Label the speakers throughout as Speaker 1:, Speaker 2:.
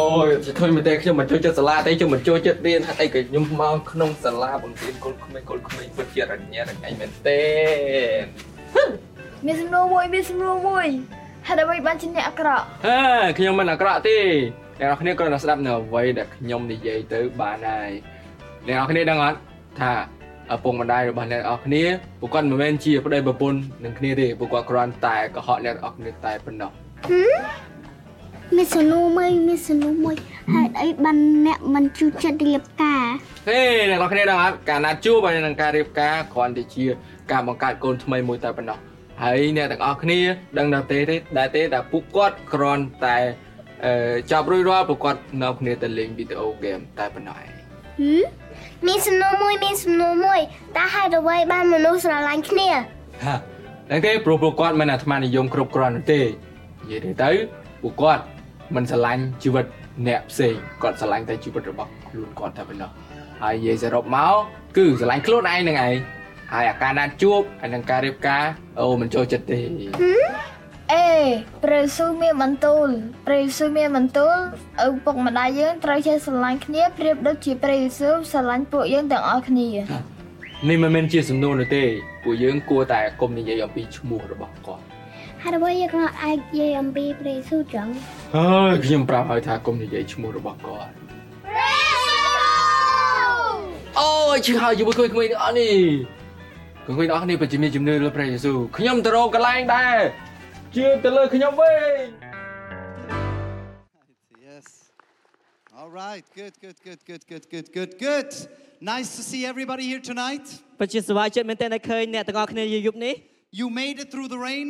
Speaker 1: អូយឃើញមែនទេខ្ញុំមិនចូលចិត្តសាលាទេខ្ញុំមិនចូលចិត្តរៀនហេតុអីក៏ខ្ញុំមកក្នុងសាលាបង្រៀនកូនក្មេងកូនក្មេងពិតជារញ៉េរញ៉ៃមែនទេ
Speaker 2: មានសំណួរមួយមានសំណួរមួយហេតុអ្វីបានជាអ្នកអាក្រក់
Speaker 1: ហេខ្ញុំមិនអាក្រក់ទេអ្នកនរគ្នាគ្រាន់តែស្ដាប់នៅអ្វីដែលខ្ញុំនិយាយទៅបានហើយអ្នកនរគ្នាដឹងអត់ថាឪពុកម្ដាយរបស់អ្នកនរគ្នាពួកគាត់មិនមែនជាប្តីប្រពន្ធនឹងគ្នាទេពួកគាត់គ្រាន់តែកុហកអ្នកនរគ្នាតែប៉ុណ្ណោះ
Speaker 3: មានសំណួរមួយមានសំណួរមួយហេតុអីបានអ្នកមិនជួចចិត្តរៀបការ
Speaker 1: ហេអ្នកនរគ្នាដឹងអត់ការណាត់ជួបហើយនឹងការរៀបការគ្រាន់តែជាការបង្កើតកូនថ្មីមួយតែប៉ុណ្ណោះហើយអ្នកទាំងអស់គ្នាដឹងដល់ទេទេដែរទេតែពួកគាត់គ្រាន់តែអឺចាប់រួចរាល់ពួកគាត់នៅគ្នាទៅលេងវីដេអូហ្គេមតែប៉ុណ្ណោះឯង
Speaker 3: ហឹម
Speaker 4: មានសំណួរមួយមានសំណួរមួយតើហេតុអ្វីបានមនុស្សស្រឡាញ់គ្នា
Speaker 1: ហាតែគេព្រោះពួកគាត់មិនអាត្មានិយមគ្រប់គ្រាន់នោះទេនិយាយទៅពួកគាត់មិនស្រឡាញ់ជីវិតអ្នកផ្សេងគាត់ស្រឡាញ់តែជីវិតរបស់ខ្លួនគាត់តែប៉ុណ្ណោះហើយនិយាយសរុបមកគឺស្រឡាញ់ខ្លួនឯងនឹងឯងហើយអាការណាត់ជួបហើយនឹងការរៀបការអូមិនចូលចិត្តទេ
Speaker 2: អេព្រះយេស៊ូវមានបន្ទូលព្រះយេស៊ូវមានបន្ទូលឪពុកម្ដាយយើងត្រូវចេះស្រឡាញ់គ្នាប្រៀបដូចជាព្រះយេស៊ូវស្រឡាញ់ពួកយើងទាំងអស់គ្នា
Speaker 1: នេះមិនមែនជាសំណួរនោះទេពួកយើងគួរតែគុំនិយាយអំពីឈ្មោះរបស់គាត់
Speaker 3: ហេតុអ្វីយើងអាចនិយាយអំពីព្រះយេស៊ូវចឹង
Speaker 1: ហើយខ្ញុំប្រាប់ហើយថាគុំនិយាយឈ្មោះរបស់គាត់អូយឈឺហើយយូរគួយគួយអ្នកនេះគួយអ្នកនេះពិតជាមានជំនឿលើព្រះយេស៊ូវខ្ញុំទៅរកកន្លែងដែរជឿទៅលើខ្ញុំវិញ
Speaker 5: Yes. All right. Good, good, good, good, good, good, good, good. Nice to see everybody here tonight.
Speaker 6: ពិតជាសប្បាយចិត្តមែនទែនដែលឃើញអ្នកទាំងអស់គ្នាយយប់នេះ
Speaker 5: You made it through the rain,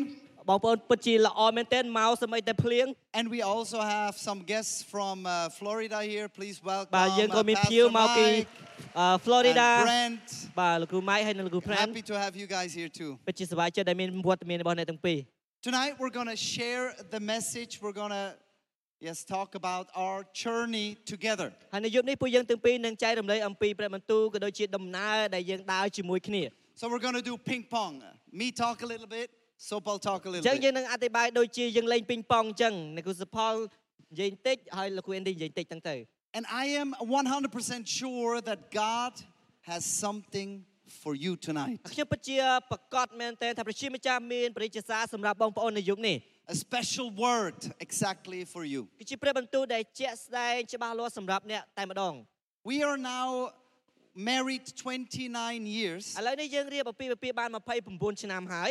Speaker 6: បងប្អូនពិតជាល្អមែនទែនមកសម្រាប់តែភ្លៀង
Speaker 5: and we also have some guests from uh, Florida here. Please welcome
Speaker 6: បាទយើងក៏
Speaker 5: uh,
Speaker 6: មាន
Speaker 5: Pastor
Speaker 6: ភៀវមកពី
Speaker 5: Mike
Speaker 6: អឺ Florida
Speaker 5: and Brent.
Speaker 6: បាទលោកគ្រូម៉ៃហើយនិងលោកគ្រូ Pram
Speaker 5: Happy to have you guys here too.
Speaker 6: ពិតជាសប្បាយចិត្តដែលមានវត្តមានរបស់អ្នកទាំងពីរ
Speaker 5: Tonight we're going to share the message. We're going to yes talk about our journey together.
Speaker 6: ហើយនៅយប់នេះពួកយើងទាំងពីរនឹងចែករំលែកអំពីព្រះបន្ទូលក៏ដូចជាដំណើរដែលយើងដើរជាមួយគ្នា
Speaker 5: So we're going to do ping pong. Me talk a little bit, Sopal talk a
Speaker 6: អ
Speaker 5: little
Speaker 6: ញ្ចឹង
Speaker 5: bit.
Speaker 6: យើងនឹងអធិប្បាយដូចជាយើងលេងពីងប៉ុងអញ្ចឹងអ្នកគ្រូសុផលនិយាយបន្តិចហើយលោកគ្រូ Andy និយាយបន្តិចទាំងទៅ
Speaker 5: And I am 100% sure that God has something for you tonight,
Speaker 6: ខ្ញុំពិតជាប្រកាសមែនទែនថាព្រះជាម្ចាស់មានព្រះរាជាសារសម្រាប់បងប្អូននៅយប់នេះ
Speaker 5: a special word exactly for you.
Speaker 6: គឺជាព្រះបន្ទូលដែលជាក់ស្ដែងច្បាស់លាស់សម្រាប់អ្នកតែម្ដង
Speaker 5: We are now married 29 years.
Speaker 6: ឥឡូវនេះយើងរៀបអំពីពាពាហ៍បាន29ឆ្នាំហើយ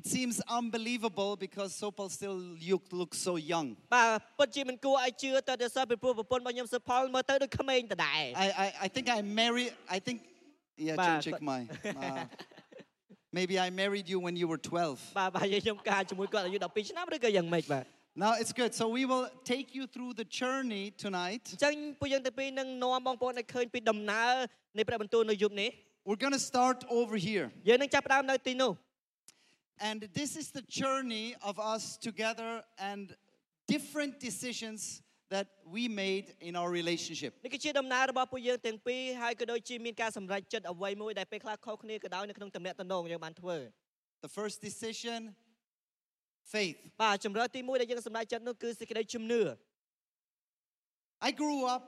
Speaker 5: It seems unbelievable because Sopal still look, looks so young.
Speaker 6: បាទពិតជាមិនគួរឲ្យជឿតើដោយសារពីព្រោះប្រពន្ធរបស់ខ្ញុំសុផលមើលទៅដូចក្មេងដដែល
Speaker 5: I, I, I think I married, I think, yeah,
Speaker 6: Ba-
Speaker 5: check, check my. uh, maybe I married you when you were 12.
Speaker 6: បាទបាទយើងខ្ញុំការជាមួយគាត់អាយុ12ឆ្នាំឬក៏យ៉ាងម៉េចបាទ
Speaker 5: Now it's good. So we will take you through the journey tonight.
Speaker 6: អញ្ចឹងពួកយើងទាំងពីរនឹងនាំបងប្អូនឲ្យឃើញពីដំណើរនៃព្រះបន្ទូលនៅយប់នេះ
Speaker 5: We're going to start over here.
Speaker 6: យើងនឹងចាប់ផ្ដើមនៅទីនោះ
Speaker 5: And this is the journey of us together and different decisions that we made in our relationship.
Speaker 6: នេះគឺជាដំណើររបស់ពួកយើងទាំងពីរហើយក៏ដូចជាមានការសម្រេចចិត្តអ្វីមួយដែលពេលខ្លះខុសគ្នាក៏ដោយនៅក្នុងទំនាក់ទំនងយើងបានធ្វើ
Speaker 5: The first decision faith.
Speaker 6: បាទជំរឿទី1ដែលយើងសម្រេចចិត្តនោះគឺសេចក្តីជំនឿ
Speaker 5: I grew up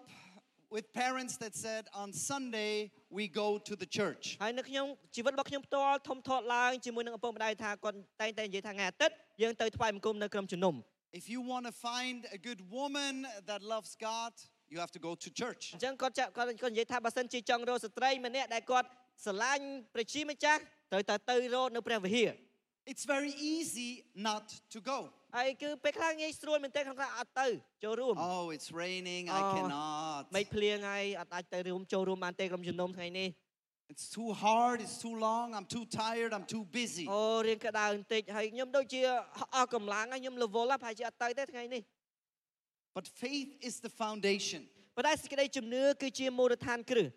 Speaker 5: with parents that said on Sunday we go to the church.
Speaker 6: ហើយនៅខ្ញុំជីវិតរបស់ខ្ញុំផ្ទាល់ធំធាត់ឡើងជាមួយនឹងឪពុកម្ដាយថាគាត់តែងតែនិយាយថាថ្ងៃអាទិត្យយើងទៅថ្វាយបង្គំនៅក្រុមជំនុំ
Speaker 5: If you want to find a good woman that loves God, you have to go to
Speaker 6: អ
Speaker 5: church.
Speaker 6: ញ្ចឹងគាត់ចាក់គាត់គាត់និយាយថាបើសិនជាចង់រកស្ត្រីម្នាក់ដែលគាត់ស្រឡាញ់ព្រះជាម្ចាស់ត្រូវតែទៅរកនៅព្រះវិហារ
Speaker 5: It's very easy not to go.
Speaker 6: ហើយគឺពេលខ្លះងាយស្រួលមែនទែនក្នុងការអត់ទៅចូលរួម
Speaker 5: Oh, it's raining,
Speaker 6: Oh.
Speaker 5: I cannot.
Speaker 6: មេឃភ្លៀងហើយអត់អាចទៅរួមចូលរួមបានទេក្រុមជំនុំថ្ងៃនេះ
Speaker 5: It's too hard, it's too long, I'm too tired, I'm too busy.
Speaker 6: អូរៀងក្តៅបន្តិចហើយខ្ញុំដូចជាអស់កម្លាំងហើយខ្ញុំរវល់ហើយប្រហែលជាអត់ទៅទេថ្ងៃនេះ
Speaker 5: But faith is the foundation.
Speaker 6: ប៉ុន្តែសេចក្តីជំនឿគឺជាមូលដ្ឋានគ្រឹះ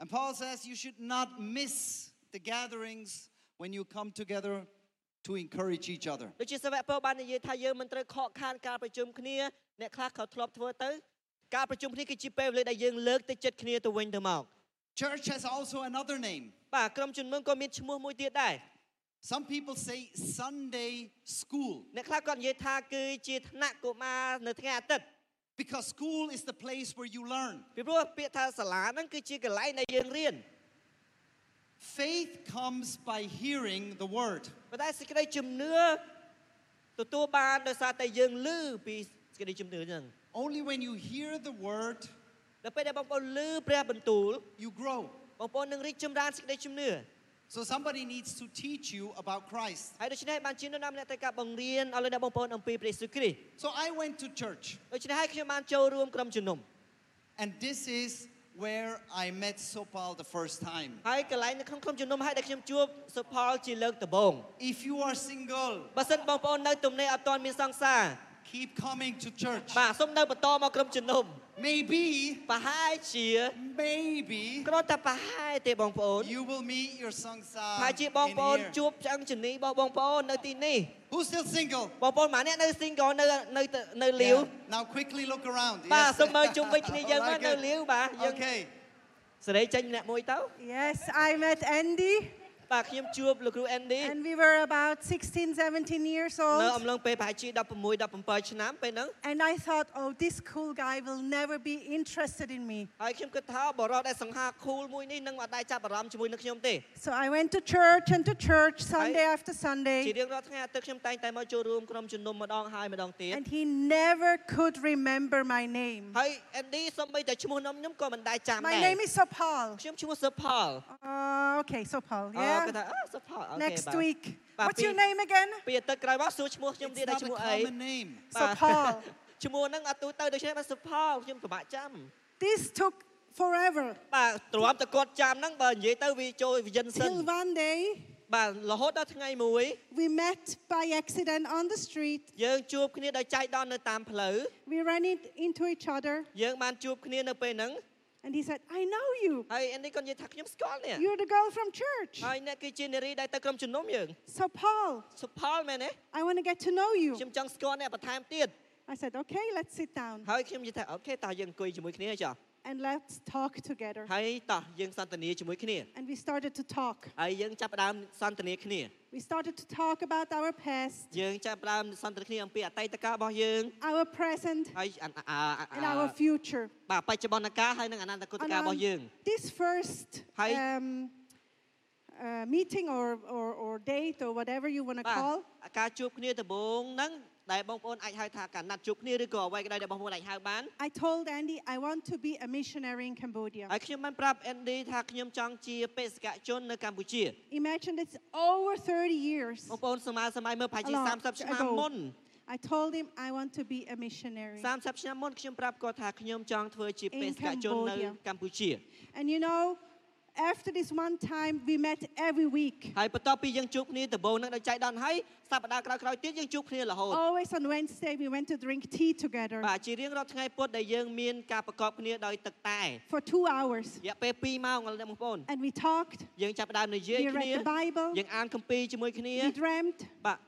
Speaker 5: And Paul says you should not miss the gatherings when you come together to encourage each other.
Speaker 6: ដូចជាសាវកពលបាននិយាយថាយើងមិនត្រូវខកខានការប្រជុំគ្នាអ្នកខ្លះក៏ធ្លាប់ធ្វើទៅការប្រជុំគ្នាគឺជាពេលវេលាដែលយើងលើកទឹកចិត្តគ្នាទៅវិញទៅមក
Speaker 5: Church has also another name.
Speaker 6: បាទក្រុមជំនុំក៏មានឈ្មោះមួយទៀតដែរ
Speaker 5: Some people say Sunday school.
Speaker 6: អ្នកខ្លះក៏និយាយថាគឺជាថ្នាក់កុមារនៅថ្ងៃអាទិត្យ
Speaker 5: Because school is the place where you learn.
Speaker 6: ពីព្រោះពាក្យថាសាលាហ្នឹងគឺជាកន្លែងដែលយើងរៀន
Speaker 5: Faith comes by hearing the word.
Speaker 6: ប៉ុន្តែសេចក្តីជំនឿទទួលបានដោយសារតែយើងឮពីសេចក្តីជំនឿហ្នឹង
Speaker 5: Only when you hear the word,
Speaker 6: ដល់ពេលដែលបងប្អូនឮព្រះបន្ទូល
Speaker 5: you grow.
Speaker 6: បងប្អូននឹងរីកចម្រើនសេចក្តីជំនឿ
Speaker 5: So somebody needs to teach you about Christ.
Speaker 6: ហើយដូច្នេះបានជានរណាម្នាក់ត្រូវការបង្រៀនឲ្យលោកអ្នកបងប្អូនអំពីព្រះយេស៊ូវគ្រីស្ទ
Speaker 5: So I went to church,
Speaker 6: ដូច្នេះហើយខ្ញុំបានចូលរួមក្រុមជំនុំ
Speaker 5: and this is where I met Sopal the first time.
Speaker 6: ហើយកន្លែងនៅក្នុងក្រុមជំនុំហើយដែលខ្ញុំជួបសុផលជាលើកដំបូង
Speaker 5: If you are single,
Speaker 6: បើសិនបងប្អូននៅទំនេរអត់ទាន់មានសង្សារ
Speaker 5: keep coming to church.
Speaker 6: បាទសូមនៅបន្តមកក្រុមជំនុំ
Speaker 5: Maybe,
Speaker 6: ប្រហែលជា
Speaker 5: maybe
Speaker 6: គ្រាន់តែប្រហែលទេបងប្អូន
Speaker 5: you will meet your sangsa
Speaker 6: ហើយជាបងប្អូន
Speaker 5: in
Speaker 6: ជួ
Speaker 5: here.
Speaker 6: បឆ្អឹងជំនីរបស់បងប្អូននៅទីនេះ
Speaker 5: Who's still single?
Speaker 6: បងប្អូនមួយអ្នកនៅ single នៅនៅនៅលាវ
Speaker 5: Yeah. Now quickly look around.
Speaker 6: បាទ
Speaker 5: Yes.
Speaker 6: សូមមើលជុំវិញគ្នា យើង
Speaker 5: All
Speaker 6: មក
Speaker 5: right,
Speaker 6: នៅ
Speaker 5: good.
Speaker 6: លាវបាទយើង
Speaker 5: Okay.
Speaker 6: សេរីចេញម្នាក់មួយទៅ
Speaker 7: Yes, I met Andy,
Speaker 6: បាទខ្ញុំជួបលោកគ្រូ Andy
Speaker 7: and we were about 16, 17 years
Speaker 6: នៅអំ
Speaker 7: old.
Speaker 6: ឡុងពេលប្រហែលជា16 17ឆ្នាំពេលហ្នឹង
Speaker 7: And I thought, oh, this cool guy will never be interested in me.
Speaker 6: ហើយខ្ញុំគិតថាបរិបទដែលសង្ហាខូលមួយនេះនឹងអត់ដែរចាប់អារម្មណ៍ជាមួយនឹងខ្ញុំទេ
Speaker 7: So I went to church and to church Sunday after
Speaker 6: ជា
Speaker 7: Sunday,
Speaker 6: រៀងរាល់ថ្ងៃអាទិត្យខ្ញុំតែងតែមកចូលរួមក្រុមជំនុំម្ដងហើយម្ដងទៀត
Speaker 7: and he never could remember my name.
Speaker 6: ហើយ Andy សូម្បីតែឈ្មោះខ្ញុំខ្ញុំក៏មិនដែរចាំ
Speaker 7: My
Speaker 6: ដែរ
Speaker 7: name is Sopal.
Speaker 6: ខ្ញុំឈ្មោះ Sir Paul
Speaker 7: Uh, okay, Sopal,
Speaker 6: អឺគាត់
Speaker 7: yeah.
Speaker 6: ថា "Ah, Sir Paul អូខេ
Speaker 7: Next
Speaker 6: បាទ
Speaker 7: week.
Speaker 6: បាទ
Speaker 7: What's your
Speaker 6: ពី
Speaker 7: name again?
Speaker 6: ពីអាទិត្យក្រោយមកសួរឈ្មោះខ្ញុំទៀត
Speaker 5: It's
Speaker 6: ថា
Speaker 5: not
Speaker 6: ឈ្មោះ
Speaker 5: a
Speaker 6: អី
Speaker 5: common name.
Speaker 6: បាទ
Speaker 7: Sopal.
Speaker 6: ឈ្មោះហ្នឹងអត់ទូទៅដូច្នេះបាទ Sir Paul ខ្ញុំពិបាកចាំ
Speaker 7: This took forever.
Speaker 6: បាទទ្រាំតែគាត់ចាំហ្នឹងបើនិយាយទៅវាចូលវិញ្ញាណសិន
Speaker 7: Till one day,
Speaker 6: បាទរហូតដល់ថ្ងៃមួយ
Speaker 7: we met by accident on the street.
Speaker 6: យើងជួបគ្នាដោយចៃដន្យនៅតាមផ្លូវ
Speaker 7: We ran it into each other,
Speaker 6: យើងបានជួបគ្នានៅពេលហ្នឹង
Speaker 7: and he said, I know you.
Speaker 6: ហើយ Andy គាត់និយាយថាខ្ញុំស្គាល់អ្នក
Speaker 7: You're the girl from church.
Speaker 6: ហើយអ្នកគឺជានារីដែលទៅក្រុមជំនុំយើង
Speaker 7: So, Paul,
Speaker 6: Sir Paul មែនទេ
Speaker 7: I want to get to know you.
Speaker 6: ខ្ញុំចង់ស្គាល់អ្នកបន្ថែមទៀត
Speaker 7: I said, Okay, let's sit down
Speaker 6: ហើយខ្ញុំនិយាយថាអូខេតោះយើងអង្គុយជាមួយគ្នាចុះ
Speaker 7: and let's talk together.
Speaker 6: ហើយតោះយើងសន្ទនាជាមួយគ្នា
Speaker 7: And we started to talk.
Speaker 6: ហើយយើងចាប់ផ្ដើមសន្ទនាគ្នា
Speaker 7: We started to talk about our past,
Speaker 6: យើងចាប់ផ្ដើមសន្ទនាគ្នាអំពីអតីតកាលរបស់យើង
Speaker 7: our present,
Speaker 6: ហើយអានអាអា
Speaker 7: and our future.
Speaker 6: បាទបច្ចុប្បន្នកាលហើយនិងអនាគតកាលរបស់យើង
Speaker 7: this first
Speaker 6: Hi.
Speaker 7: um, uh, meeting or, or, or date or whatever you want to
Speaker 6: បាទ
Speaker 7: call,
Speaker 6: ការជួបគ្នាដំបូងហ្នឹងដែលបងប្អូនអាចហៅថាការណាត់ជួបគ្នាឬក៏អ្វីក៏ដោយដែលបងប្អូនអាចហៅបាន
Speaker 7: I told Andy I want to be a missionary in Cambodia.
Speaker 6: ហើយខ្ញុំបានប្រាប់ Andy ថាខ្ញុំចង់ជាបេសកជននៅកម្ពុជា
Speaker 7: Imagine it's over 30 years.
Speaker 6: បងប្អូនសម័យសម័យមើលប្រហែលជា
Speaker 7: Hello.
Speaker 6: 30ឆ្នាំ
Speaker 7: Hello.
Speaker 6: មុន
Speaker 7: I told him I want to be a missionary.
Speaker 6: 30ឆ្នាំមុនខ្ញុំប្រាប់គាត់ថាខ្ញុំចង់ធ្វើជា
Speaker 7: In
Speaker 6: បេសកជននៅ
Speaker 7: Cambodia.
Speaker 6: កម្ពុជា
Speaker 7: And you know, after this one time, we met every week,
Speaker 6: ហើយបន្ទាប់ពីយើងជួបគ្នាដំបូងហ្នឹងដោយចៃដន្យហើយសប្តាហ៍ក្រោយៗទៀតយើងជួបគ្នារហូត
Speaker 7: always on Wednesday, we went to drink tea together
Speaker 6: បាទជារៀងរាល់ថ្ងៃពុទ្ធដែលយើងមានការប្រកបគ្នាដោយទឹកតែ
Speaker 7: for two hours.
Speaker 6: រយៈពេល2ម៉ោងឥឡូវបងប្អូន
Speaker 7: And we talked,
Speaker 6: យើងចាប់ផ្ដើមនិយាយ
Speaker 7: we
Speaker 6: គ្នា
Speaker 7: read the Bible,
Speaker 6: យើងអានគម្ពីរជាមួយគ្នា
Speaker 7: we dreamt,
Speaker 6: បាទ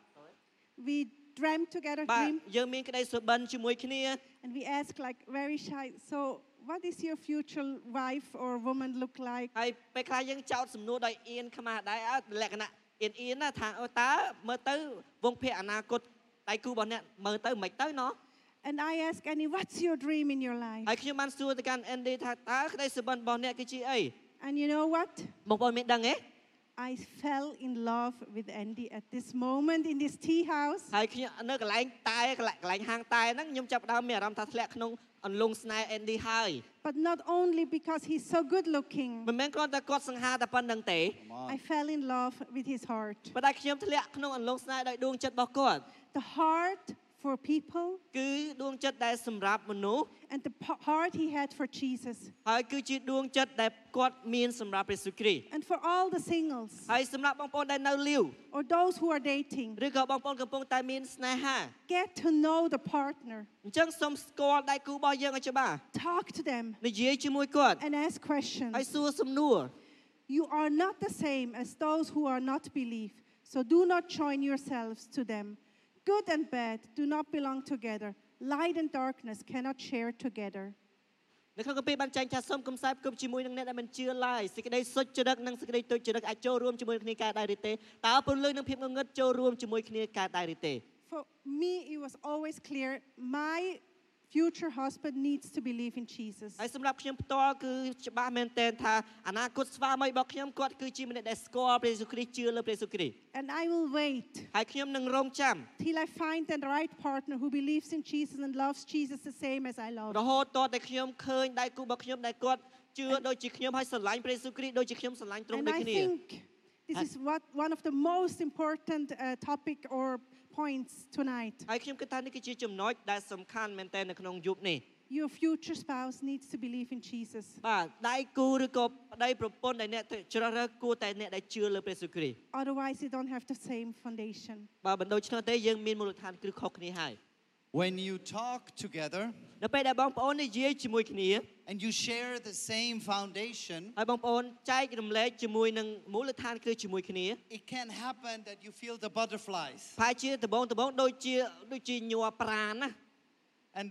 Speaker 7: we dreamt together,
Speaker 6: បាទ
Speaker 7: dream.
Speaker 6: យើងមានក្តីសុបិនជាមួយគ្នា
Speaker 7: And we asked, like, very shy, so what is your future wife or woman look like?
Speaker 6: ហើយពេលខ្លះយើងចោតសំណួរដោយអៀនខ្មាស់ដែរអើលក្ខណៈអៀនអៀនណាថាអូតើមើលទៅវងភ័ក្រអនាគតដៃគូរបស់អ្នកមើលទៅមិនទៅណោះ
Speaker 7: And I asked Annie, what's your dream in your life?
Speaker 6: ហើយខ្ញុំបានសួរទៅកាន់ Andy ថាតើក្តីសុបិនរបស់អ្នកគឺជាអី
Speaker 7: And you know what?
Speaker 6: បងប្អូនមានដឹងទេ
Speaker 7: I fell in love with Andy at this moment in this tea house.
Speaker 6: ហើយខ្ញុំនៅកន្លែងតែកន្លែងកន្លែងហាងតែហ្នឹងខ្ញុំចាប់ផ្ដើមមានអារម្មណ៍ថាធ្លាក់ក្នុងអន្លង់ស្នេហ៍ Andy ហើយ
Speaker 7: But not only because he's so good looking,
Speaker 6: មិនមែនគ្រាន់តែគាត់សង្ហាតែប៉ុណ្្នឹងទេ
Speaker 7: I fell in love with his heart.
Speaker 6: ប៉ុន្តែខ្ញុំធ្លាក់ក្នុងអន្លង់ស្នេហ៍ដោយដួងចិត្តរបស់គាត់
Speaker 7: The heart for people
Speaker 6: គឺដួងចិត្តដែលសម្រាប់មនុស្ស
Speaker 7: and the p- heart he had for Jesus
Speaker 6: ហើយគឺជាដួងចិត្តដែលគាត់មានសម្រាប់ព្រះយេស៊ូវគ្រីស្ទ
Speaker 7: and for all the singles
Speaker 6: ហើយសម្រាប់បងប្អូនដែលនៅលាវ
Speaker 7: or those who are dating.
Speaker 6: ឬក៏បងប្អូនកំពុងតែមានស្នេហា
Speaker 7: Get to know the partner,
Speaker 6: អញ្ចឹងសូមស្គាល់ដៃគូរបស់យើងឲ្យច្បាស់
Speaker 7: talk to them,
Speaker 6: និយាយជាមួយគាត់
Speaker 7: and ask
Speaker 6: ហើយ
Speaker 7: questions.
Speaker 6: សួរសំណួរ
Speaker 7: You are not the same as those who are not believe, so do not join yourselves to them. Good and bad do not belong together. Light and darkness cannot share together.
Speaker 6: នៅក្នុងកាពីរបានចែងថាសូមកំសាយផ្គប់ជាមួយនឹងអ្នកដែលមិនជឿឡើយសេចក្តីសុចរិតនិងសេចក្តីទុច្ចរិតអាចចូលរួមជាមួយគ្នាកើតដែរឬទេតើពលលឺនិងភាពងងឹតចូលរួមជាមួយគ្នាកើតដែរឬទេ
Speaker 7: For me, it was always clear my future husband needs to believe in Jesus.
Speaker 6: ហើយសម្រាប់ខ្ញុំផ្ទាល់គឺច្បាស់មែនទែនថាអនាគតស្វាមីរបស់ខ្ញុំគាត់គឺជាម្នាក់ដែលស្គាល់ព្រះយេស៊ូវគ្រីស្ទជឿលើព្រះយេស៊ូវគ្រីស្ទ
Speaker 7: And I will wait
Speaker 6: ហើយខ្ញុំនឹងរងចាំ
Speaker 7: till I find the right partner who believes in Jesus and loves Jesus the same as I love.
Speaker 6: រហូតតតែខ្ញុំឃើញដៃគូរបស់ខ្ញុំដែលគាត់ជឿដូចជាខ្ញុំហើយស្រឡាញ់ព្រះយេស៊ូវគ្រីស្ទដូចជាខ្ញុំស្រឡាញ់ទ្រង់
Speaker 7: And
Speaker 6: ដូច
Speaker 7: I
Speaker 6: គ្នា
Speaker 7: think this is what one of the most important uh, topic or points tonight.
Speaker 6: ហើយខ្ញុំគិតថានេះគឺជាចំណុចដែលសំខាន់មែនទែននៅក្នុងយុគនេះ
Speaker 7: Your future spouse needs to believe in Jesus.
Speaker 6: បាទដៃគូឬក៏ប្តីប្រពន្ធដែលអ្នកជ្រើសរើសគួរតែអ្នកដែលជឿលើព្រះយេស៊ូវគ្រីស្ទ
Speaker 7: Otherwise, you don't have the same foundation.
Speaker 6: បើមិនដូច្នោះទេយើងមានមូលដ្ឋានគ្រឹះខុសគ្នាហើយ
Speaker 5: When you talk together
Speaker 6: នៅពេលដែលបងប្អូននិយាយជាមួយគ្នា
Speaker 5: and you share the same foundation,
Speaker 6: ហើយបងប្អូនចែករំលែកជាមួយនឹងមូលដ្ឋានគ្រឹះជាមួយគ្នា
Speaker 5: it can happen that you feel the butterflies.
Speaker 6: ផែជាដបងដបងដូចជាដូចជាញ័រប្រាណណា
Speaker 5: And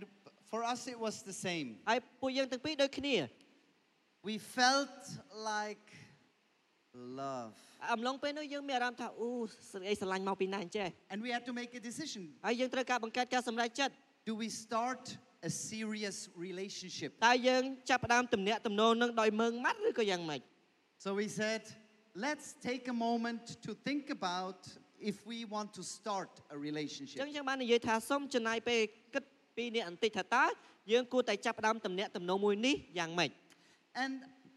Speaker 5: for us, it was the same.
Speaker 6: ហើយពួកយើងទាំងពីរដូចគ្នា
Speaker 5: We felt like love.
Speaker 6: អំឡុងពេលនោះយើងមានអារម្មណ៍ថាអូស្រីស្រឡាញ់មកពីណាអញ្ចេះ
Speaker 5: And we had to make a decision.
Speaker 6: ហើយយើងត្រូវការបង្កើតការសម្រេចចិត្ត
Speaker 5: Do we start a serious relationship?
Speaker 6: តើយើងចាប់ផ្ដើមទំនាក់ទំនងនឹងដោយមើងម៉ាត់ឬក៏យ៉ាងម៉េច
Speaker 5: So we said, let's take a moment to think about if we want to start a
Speaker 6: អញ្ចឹ
Speaker 5: relationship.
Speaker 6: ងយើងបាននិយាយថាសូមចំណាយពេលគិតពីនេះបន្តិចថាតើយើងគួរតែចាប់ផ្ដើមទំនាក់ទំនងមួយនេះយ៉ាងម៉េច
Speaker 5: And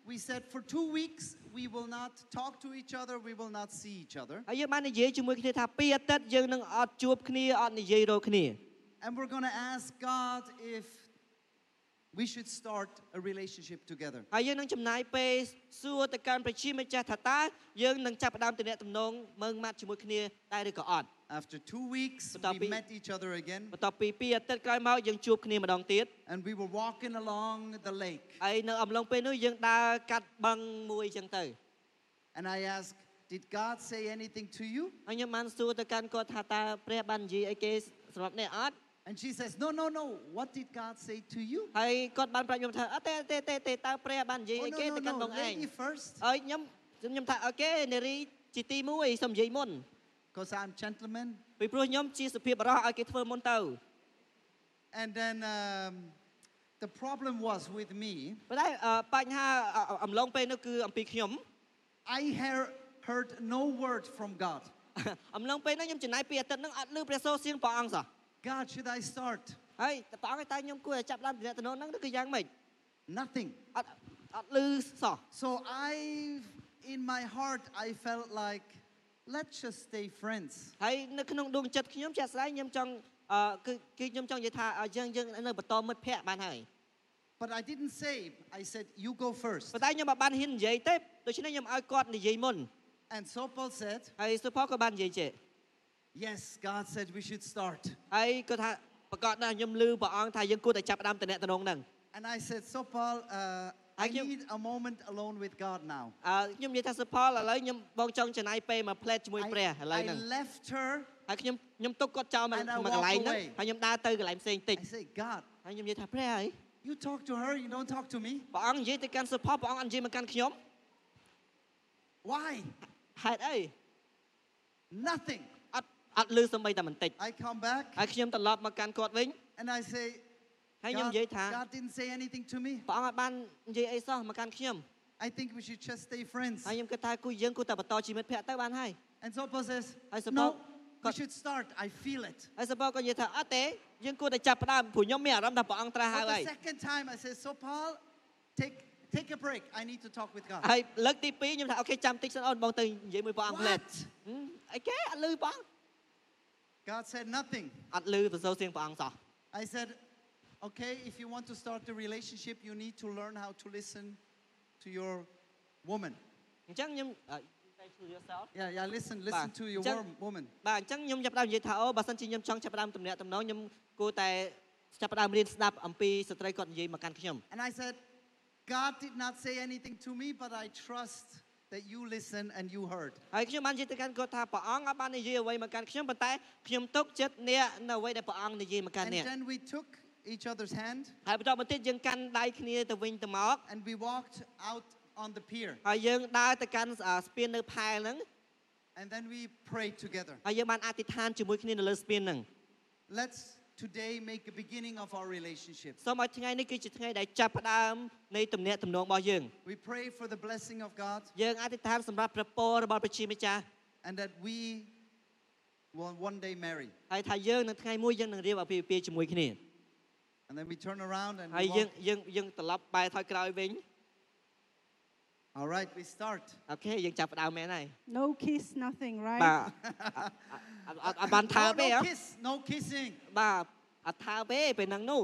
Speaker 5: we said, for two weeks, we will not talk to each other, we will not see each other.
Speaker 6: ហើយយើងបាននិយាយជាមួយគ្នាថាពីអាទិត្យយើងនឹងអត់ជួបគ្នាអត់និយាយរកគ្នា
Speaker 5: And we're going to ask God if we should start a relationship together.
Speaker 6: ហើយយើងនឹងចំណាយពេលសួរទៅកាន់ប្រជាម្ចាស់ថាតើយើងនឹងចាប់ផ្ដើមទំនាក់ទំនងមើងម៉ាត់ជាមួយគ្នាដែរឬក៏អត់
Speaker 5: After two weeks,
Speaker 6: But that'll
Speaker 5: we
Speaker 6: be-
Speaker 5: met each other again
Speaker 6: បន្ទាប់ពីពីអាទិត្យក្រោយមកយើងជួបគ្នាម្ដងទៀត
Speaker 5: and we were walking along the lake.
Speaker 6: ហើយនៅអំឡុងពេលនោះយើងដើរកាត់បឹងមួយអញ្ចឹងទៅ
Speaker 5: And I asked, Did God say anything to you?
Speaker 6: ហើយខ្ញុំបានសួរទៅកាន់គាត់ថាតើព្រះបាននិយាយអីគេសម្រាប់អ្នកអត់
Speaker 5: And she says, No, no, no. What did God say to you?
Speaker 6: ហើយគាត់បានប្រាប់ខ្ញុំថាអត់ទេអត់ទេទេទេតើព្រះបាននិយាយ
Speaker 5: Oh,
Speaker 6: អីគេ
Speaker 5: no,
Speaker 6: ទៅកាន់
Speaker 5: no,
Speaker 6: ប
Speaker 5: no.
Speaker 6: ងឯង
Speaker 5: Lady first,
Speaker 6: ហើយខ្ញុំខ្ញុំថាអូខេនារីជាទី1សូមនិយាយមុន
Speaker 5: because I'm gentleman.
Speaker 6: ពីព្រោះខ្ញុំជាសុភាពបុរសឲ្យគេធ្វើមុនទៅ
Speaker 5: And then um, the problem was with me,
Speaker 6: ប៉ុន្តែអឺបញ្ហាអអអំឡុងពេលនោះគឺអំពីខ្ញុំ
Speaker 5: I hear, heard no word from God.
Speaker 6: អំឡុងពេលនោះខ្ញុំចំណាយពីអាទិត្យនោះអត់លឺព្រះសូរសៀងព្រះអង្គសោះ
Speaker 5: God, should I start?
Speaker 6: ហើយព្រះអង្គឯងតើខ្ញុំគួរតែចាប់ដើមទំនាក់ទំនងហ្នឹងឬក៏យ៉ាងម៉េច
Speaker 5: Nothing.
Speaker 6: អត់អត់លឺសោះ
Speaker 5: So I, in my heart, I felt like, let's just stay friends.
Speaker 6: ហើយនៅក្នុងដួងចិត្តខ្ញុំជាក់ស្ដែងខ្ញុំចង់អឺគឺគឺខ្ញុំចង់និយាយថាឲ្យយើងយើងនៅបន្តមិត្តភ័ក្តិបានហើយ
Speaker 5: But I didn't say, I said, you go first.
Speaker 6: ប៉ុន្តែខ្ញុំមិនបានហ៊ាននិយាយទេដូច្នេះខ្ញុំឲ្យគាត់និយាយមុន
Speaker 5: And so Paul said,
Speaker 6: ហើយសុផលក៏បាននិយាយចេះ
Speaker 5: yes, God said we should start.
Speaker 6: ហើយគាត់ថាប្រកាសណាស់ខ្ញុំលឺព្រះអង្គថាយើងគួរតែចាប់ផ្ដើមតំណែងហ្នឹង
Speaker 5: And I said, so Paul, uh, I
Speaker 6: Thank you.
Speaker 5: need a moment alone with God now.
Speaker 6: អើខ្ញុំនិយាយថាសុផលឥឡូវខ្ញុំបងចង់ចំណាយពេលមួយផ្លែតជាមួយ
Speaker 5: I,
Speaker 6: ព្រះឥឡូវ
Speaker 5: I
Speaker 6: ហ្នឹង
Speaker 5: left her.
Speaker 6: ហើយខ្ញុំខ្ញុំទុកគាត់ចោលមកម
Speaker 5: And I
Speaker 6: កកន្លែង
Speaker 5: walk
Speaker 6: ហ្នឹង
Speaker 5: away.
Speaker 6: ហើយខ្ញុំដើរទៅកន្លែងផ្សេងតិច
Speaker 5: I say, God,
Speaker 6: ហើយខ្ញុំនិយាយថាព្រះហើយ
Speaker 5: you talk to her, you don't talk to me.
Speaker 6: ព្រះអង្គនិយាយទៅកាន់សុផលព្រះអង្គអត់និយាយមកកាន់ខ្ញុំ
Speaker 5: Why?
Speaker 6: ហេតុអី
Speaker 5: Nothing.
Speaker 6: អត់អត់លឺសំបីតែបន្តិច
Speaker 5: I come back
Speaker 6: ហើយខ្ញុំត្រឡប់មកកាន់គាត់វិញ
Speaker 5: and I say,
Speaker 6: ហើយខ្ញុំ
Speaker 5: God,
Speaker 6: និយាយថា
Speaker 5: God didn't say anything to me.
Speaker 6: ព្រះអង្គអត់បាននិយាយអីសោះមកកាន់ខ្ញុំ
Speaker 5: I think we should just stay friends.
Speaker 6: ហើយខ្ញុំគិតថាគូយើងគូតែបន្តជីវិតភ័ក្រទៅបានហើយ
Speaker 5: And so Paul says,
Speaker 6: I suppose-
Speaker 5: no, we
Speaker 6: God-
Speaker 5: should start. I feel it.
Speaker 6: ហើយសពក៏និយាយថាអត់ទេយើងគួរតែចាប់ផ្ដើមព្រោះខ្ញុំមានអារម្មណ៍ថាព្រះអង្គត្រាស់ហៅ
Speaker 5: But
Speaker 6: ហើយ
Speaker 5: the second time I say, so Paul, take, take a break. I need to talk with God.
Speaker 6: ហើយលើកទី2ខ្ញុំថាអូខេចាំតិចសិនអូនបងទៅនិយាយមួយព្រះអង្គផ្លែត
Speaker 5: What?
Speaker 6: ហឹមអីគេអត់លឺព្រះអង្គ
Speaker 5: God said nothing.
Speaker 6: អត់លឺសរសើរសៀងព្រះអង្គសោះ
Speaker 5: I said, okay, if you want to start the relationship, you need to learn how to listen to your woman.
Speaker 6: អញ្ចឹងខ្ញុំអឺ thank you yourself
Speaker 5: Yeah, yeah, listen, listen to your
Speaker 6: Just-
Speaker 5: warm woman.
Speaker 6: បាទអញ្ចឹងខ្ញុំចាប់ផ្ដើមនិយាយថាអូបើសិនជាខ្ញុំចង់ចាប់ផ្ដើមទំនាក់ទំនងខ្ញុំគួរតែចាប់ផ្ដើមរៀនស្ដាប់អំពីស្ត្រីគាត់និយាយមកកាន់ខ្ញុំ
Speaker 5: And I said, God did not say anything to me, but I trust that you listen and you heard.
Speaker 6: ហើយខ្ញុំបាននិយាយទៅកាន់គាត់ថាព្រះអង្គអត់បាននិយាយអ្វីមកកាន់ខ្ញុំប៉ុន្តែខ្ញុំទុកចិត្តអ្នកនៅអ្វីដែលព្រះអង្គនិយាយមកកាន់
Speaker 5: And
Speaker 6: អ្នក
Speaker 5: then we took each other's hand
Speaker 6: ហើយបន្តមកទៀតយើងកាន់ដៃគ្នាទៅវិញទៅមក
Speaker 5: and we walked out on the pier.
Speaker 6: ហើយយើងដើរទៅកាន់អ่าស្ពាននៅផែលហ្នឹង
Speaker 5: And then we prayed together.
Speaker 6: ហើយយើងបានអធិដ្ឋានជាមួយគ្នានៅលើស្ពានហ្នឹង
Speaker 5: Let's today make a beginning of our relationship.
Speaker 6: សូមឲ្យថ្ងៃនេះគឺជាថ្ងៃដែលចាប់ផ្ដើមនៃទំនាក់ទំនងរបស់យើង
Speaker 5: We pray for the blessing of God
Speaker 6: យើងអធិដ្ឋានសម្រាប់ព្រះពររបស់ព្រះជាម្ចាស់
Speaker 5: and that we will one day marry.
Speaker 6: ហើយថាយើងនៅថ្ងៃមួយយើងនឹងរៀបអាពាហ៍ពិពាហ៍ជាមួយគ្នា
Speaker 5: And then we turn around and
Speaker 6: ហើយ
Speaker 5: we
Speaker 6: យើង
Speaker 5: walk.
Speaker 6: យើងយើងត្រឡប់បែរថយក្រោយវិញ
Speaker 5: All right, we start.
Speaker 6: អូខេយើងចាប់ផ្ដើមមែនហើយ
Speaker 7: No kiss, nothing,
Speaker 6: បាទ
Speaker 7: right?
Speaker 6: អត់អត់អត់បានថើ
Speaker 5: No,
Speaker 6: ទេ
Speaker 5: no
Speaker 6: អ្ហ៎
Speaker 5: kiss, no kissing,
Speaker 6: បាទអត់ថើទេពេលហ្នឹងនោះ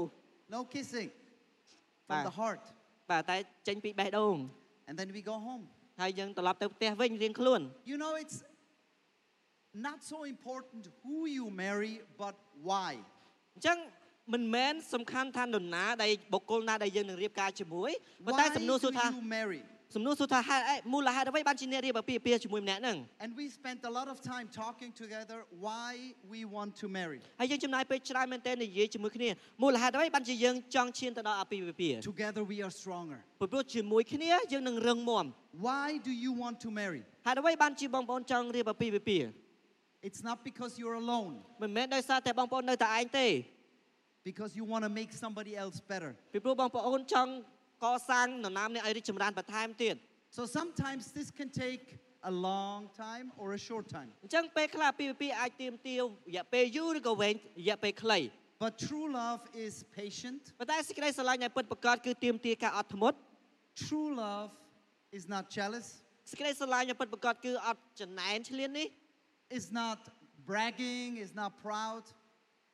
Speaker 5: no kissing
Speaker 6: Bye.
Speaker 5: from the heart.
Speaker 6: បាទតែចេញពីបេះដូង
Speaker 5: And then we go home.
Speaker 6: ហើយយើងត្រឡប់ទៅផ្ទះវិញរៀងខ្លួន
Speaker 5: You know, it's not so important who you marry, but why.
Speaker 6: អញ្ចឹងមិនមែនសំខាន់ថានរណាដែលបុគ្គលណាដែលយើងនឹងរៀបការជាមួយប៉ុន្តែ
Speaker 5: Why
Speaker 6: សំណួរសួរ
Speaker 5: do
Speaker 6: ថា
Speaker 5: you marry?
Speaker 6: សំណួរសួរថាហេតុអីមូលហេតុអ្វីបានជាអ្នករៀបអាពាហ៍ពិពាហ៍ជាមួយម្នាក់ហ្នឹង
Speaker 5: And we spent a lot of time talking together why we want to marry
Speaker 6: ហើយយើងចំណាយពេលច្រើនមែនទែននិយាយជាមួយគ្នាមូលហេតុអ្វីបានជាយើងចង់ឈានទៅដល់អាពាហ៍ពិពាហ៍
Speaker 5: together we are stronger
Speaker 6: ព្រោះព្រោះជាមួយគ្នាយើងនឹងរឹងមាំ
Speaker 5: why do you want to marry
Speaker 6: ហេតុអ្វីបានជាបងប្អូនចង់រៀបអាពាហ៍ពិពាហ៍
Speaker 5: it's not because you're alone
Speaker 6: មិនមែនដោយសារតែបងប្អូននៅតែឯងទេ
Speaker 5: because you want to make somebody else better
Speaker 6: ពីព្រោះបងប្អូនចង់កសាងនរណាម្នាក់ឲ្យរីកចម្រើនបន្ថែមទៀត
Speaker 5: so sometimes this can take a long time or a short time
Speaker 6: អញ្ចឹងពេលខ្លះអាពាហ៍ពិពាហ៍អាចទាមទាររយៈពេលយូរឬក៏វែងរយៈពេលខ្លី
Speaker 5: but true love is patient
Speaker 6: ប៉ុន្តែសេចក្តីស្រឡាញ់ដែលពិតប្រាកដគឺទាមទារការអត់ធ្មត់
Speaker 5: true love is not jealous
Speaker 6: សេចក្តីស្រឡាញ់ដែលពិតប្រាកដគឺអត់ចំណែនឆ្លៀននេះ
Speaker 5: is not bragging is not proud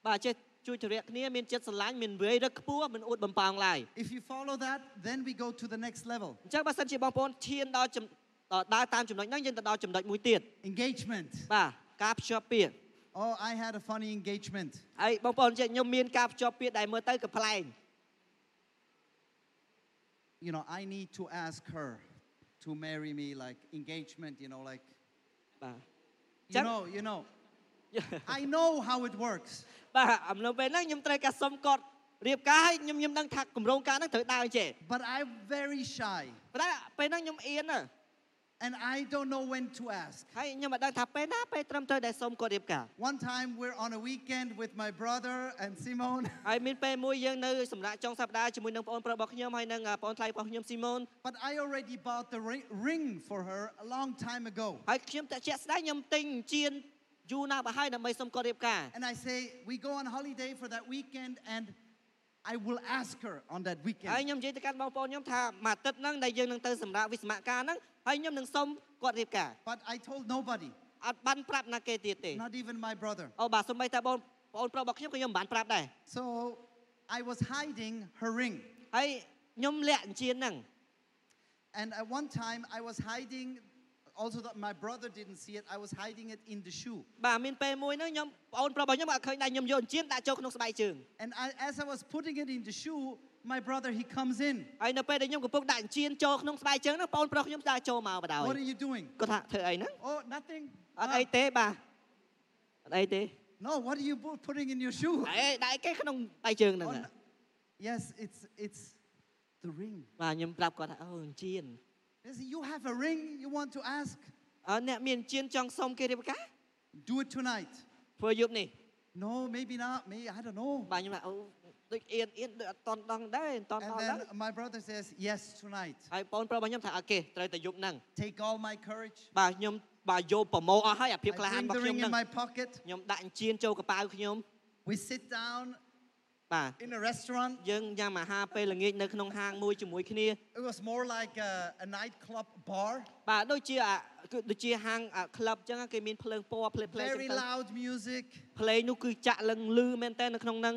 Speaker 6: បាទចេះជួយជម្រះគ្នាមានចិត្តស្រឡាញ់មានវាយរឹកខ្ពស់មិនអួតបំប៉ោងឡើយ
Speaker 5: if you follow that then we go to the next level
Speaker 6: អញ្ចឹងបើសិនជាបងប្អូនឈានដល់ចំដល់ដើរតាមចំណុចហ្នឹងយើងទៅដល់ចំណុចមួយទៀត
Speaker 5: engagement
Speaker 6: បាទការភ្ជាប់ពាក្យ
Speaker 5: oh i had a funny engagement
Speaker 6: ហើយបងប្អូនចេះខ្ញុំមានការភ្ជាប់ពាក្យដែលមើលទៅកំ pl ែង
Speaker 5: you know, I need to ask her to marry me, like engagement, you know, like,
Speaker 6: បាទ
Speaker 5: you
Speaker 6: Chắc-
Speaker 5: know, you know. I know how it works.
Speaker 6: បាទអំឡុងពេលហ្នឹងខ្ញុំត្រូវការសុំគាត់រៀបការហើយខ្ញុំខ្ញុំដឹងថាគម្រោងការហ្នឹងត្រូវដើរចេះ
Speaker 5: But I'm very shy
Speaker 6: ប៉ុន្តែពេលហ្នឹងខ្ញុំអៀនណា
Speaker 5: and I don't know when to ask.
Speaker 6: ហើយខ្ញុំមិនដឹងថាពេលណាពេលត្រឹមត្រូវដែលសុំគាត់រៀបការ
Speaker 5: One time we're on a weekend with my brother and Simone,
Speaker 6: ហើយមានពេលមួយយើងនៅសម្រាប់ចុងសប្តាហ៍ជាមួយនឹងបងប្អូនប្រុសរបស់ខ្ញុំហើយនឹងបងប្អូនថ្លៃរបស់ខ្ញុំស៊ីម៉ូន
Speaker 5: but I already bought the ri- ring for her a long time ago.
Speaker 6: ហើយខ្ញុំតែជាក់ស្ដែងខ្ញុំទិញជៀនយូរណាស់បើហើយដើម្បីសុំគាត់រៀបការ
Speaker 5: And I say, we go on holiday for that weekend and I will ask her on that
Speaker 6: ហើយ
Speaker 5: weekend.
Speaker 6: ខ្ញុំនិយាយទៅកាន់បងប្អូនខ្ញុំថាមួយអាទិត្យហ្នឹងដែលយើងនឹងទៅសម្រាប់វិស្សមការហ្នឹងហើយខ្ញុំនឹងសុំគាត់រៀបការ
Speaker 5: But I told nobody,
Speaker 6: អត់បានប្រាប់ណាគេទៀតទេ
Speaker 5: not even my brother.
Speaker 6: អូបាទសូម្បីតែបងប្អូនប្រុសរបស់ខ្ញុំក៏ខ្ញុំមិនបានប្រាប់ដែរ
Speaker 5: So I was hiding her ring.
Speaker 6: ហើយខ្ញុំលាក់អញ្ជៀនហ្នឹង
Speaker 5: And at one time, I was hiding, also that my brother didn't see it, I was hiding it in the shoe.
Speaker 6: បាទមានពេលមួយហ្នឹងខ្ញុំប្អូនប្រុសរបស់ខ្ញុំអត់ឃើញដែរខ្ញុំយកអញ្ជៀនដាក់ចូលក្នុងស្បែកជើង
Speaker 5: And I, as I was putting it in the shoe, my brother, he comes in.
Speaker 6: ហើយនៅពេលដែលខ្ញុំកំពុងដាក់អញ្ជៀនចូលក្នុងស្បែកជើងហ្នឹងប្អូនប្រុសខ្ញុំដើរចូលមកបណ្ដោយ
Speaker 5: What are you doing?
Speaker 6: គាត់ថាធ្វើអីហ្នឹង
Speaker 5: Oh, nothing.
Speaker 6: អត់អី
Speaker 5: Ah,
Speaker 6: ទេបាទអត់អីទេ
Speaker 5: no, what are you bu- putting in your shoe?
Speaker 6: អីដាក់អីគេក្នុងស្បែកជើងហ្នឹង
Speaker 5: Oh,
Speaker 6: ហ៎
Speaker 5: no. Yes, it's, it's the ring.
Speaker 6: បាទខ្ញុំប្រាប់គាត់ថាអូអញ្ជៀន
Speaker 5: They say, You have a ring you want to ask?
Speaker 6: អើអ្នកមានអញ្ជៀនចង់សុំគេរៀបការ
Speaker 5: Do it tonight.
Speaker 6: ធ្វើយប់នេះ
Speaker 5: No, maybe not. Maybe, I don't know.
Speaker 6: បាទខ្ញុំថាអូដូចអៀនអៀនដូចអត់តន់ដងដែរអត់តន់
Speaker 5: And
Speaker 6: ដល់ដែ
Speaker 5: then
Speaker 6: រ
Speaker 5: my brother says, Yes, tonight.
Speaker 6: ហើយបងប្រុសរបស់ខ្ញុំថាអូខេត្រូវតែយប់ហ្នឹង
Speaker 5: Take all my courage.
Speaker 6: បាទខ្ញុំបាទយកប្រម៉ូអស់ហើយអាភាពក្លា
Speaker 5: I
Speaker 6: ហាន
Speaker 5: bring
Speaker 6: របស់
Speaker 5: the ring
Speaker 6: ខ្ញុំហ្នឹង
Speaker 5: in my pocket.
Speaker 6: ខ្ញុំដាក់អញ្ជៀនចូលកប៉ៅខ្ញុំ
Speaker 5: We sit down
Speaker 6: បាទ
Speaker 5: in a restaurant.
Speaker 6: យើងញ៉ាំអាហារពេលល្ងាចនៅក្នុងហាងមួយជាមួយគ្នា
Speaker 5: It was more like a, a nightclub bar.
Speaker 6: បាទដូចជាអាគឺដូចជាហាងក្លឹបអញ្ចឹងគេមានភ្លើងពណ៌ភ្លេភ្លេចឹ
Speaker 5: Very
Speaker 6: ងទៅ
Speaker 5: loud music.
Speaker 6: ភ្លេងនោះគឺចាក់លឹងលឺមែនតើនៅក្នុងហ្នឹង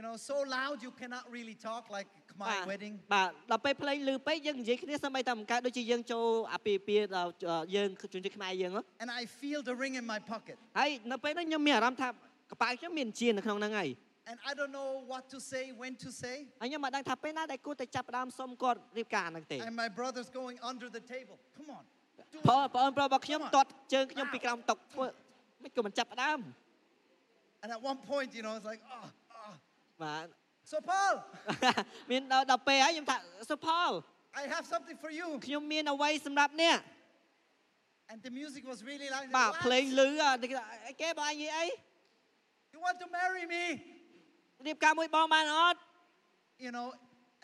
Speaker 5: You know, so loud you cannot really talk like my
Speaker 6: បាទ
Speaker 5: wedding.
Speaker 6: បាទដល់ពេលភ្លេងលឺពេកយើងនិយាយគ្នាសម្បីតែមិនកើតដូចជាយើងចូលអាពាហ៍ពិពាហ៍ដល់យើងជំនឿខ្មែរយើងហ៎
Speaker 5: And I feel the ring in my pocket.
Speaker 6: ហើយនៅពេលហ្នឹងខ្ញុំមានអារម្មណ៍ថាកប៉ៅខ្ញុំមានជានៅក្នុងហ្នឹងហើយ
Speaker 5: And I don't know what to say, when to say.
Speaker 6: ហើយខ្ញុំមិនដឹងថាពេលណាដែលគួរតែចាប់ផ្ដើមសុំគាត់រៀបការហ្នឹងទេ
Speaker 5: And my brother's going under the table. Come on. do
Speaker 6: បង
Speaker 5: it.
Speaker 6: បងប្រុសរបស់ខ្ញុំតត់ជើងខ្ញុំពីក្រោមតុកធ្វើមិនក៏មិនចាប់ផ្ដើម
Speaker 5: And at one point, you know, it's like, oh, oh.
Speaker 6: បាទ
Speaker 5: So, Paul,
Speaker 6: មានដល់ដល់ពេលហើយខ្ញុំថាសុផល
Speaker 5: I have something for you.
Speaker 6: ខ្ញុំមានអ្វីសម្រាប់អ្នក
Speaker 5: And the music was really loud.
Speaker 6: បាទ
Speaker 5: What?
Speaker 6: ភ្លេងលឺអ่ะគេថាអីគេបងនិយាយអី
Speaker 5: You want to marry me?
Speaker 6: រៀបការមួយបងបានអត់
Speaker 5: You know,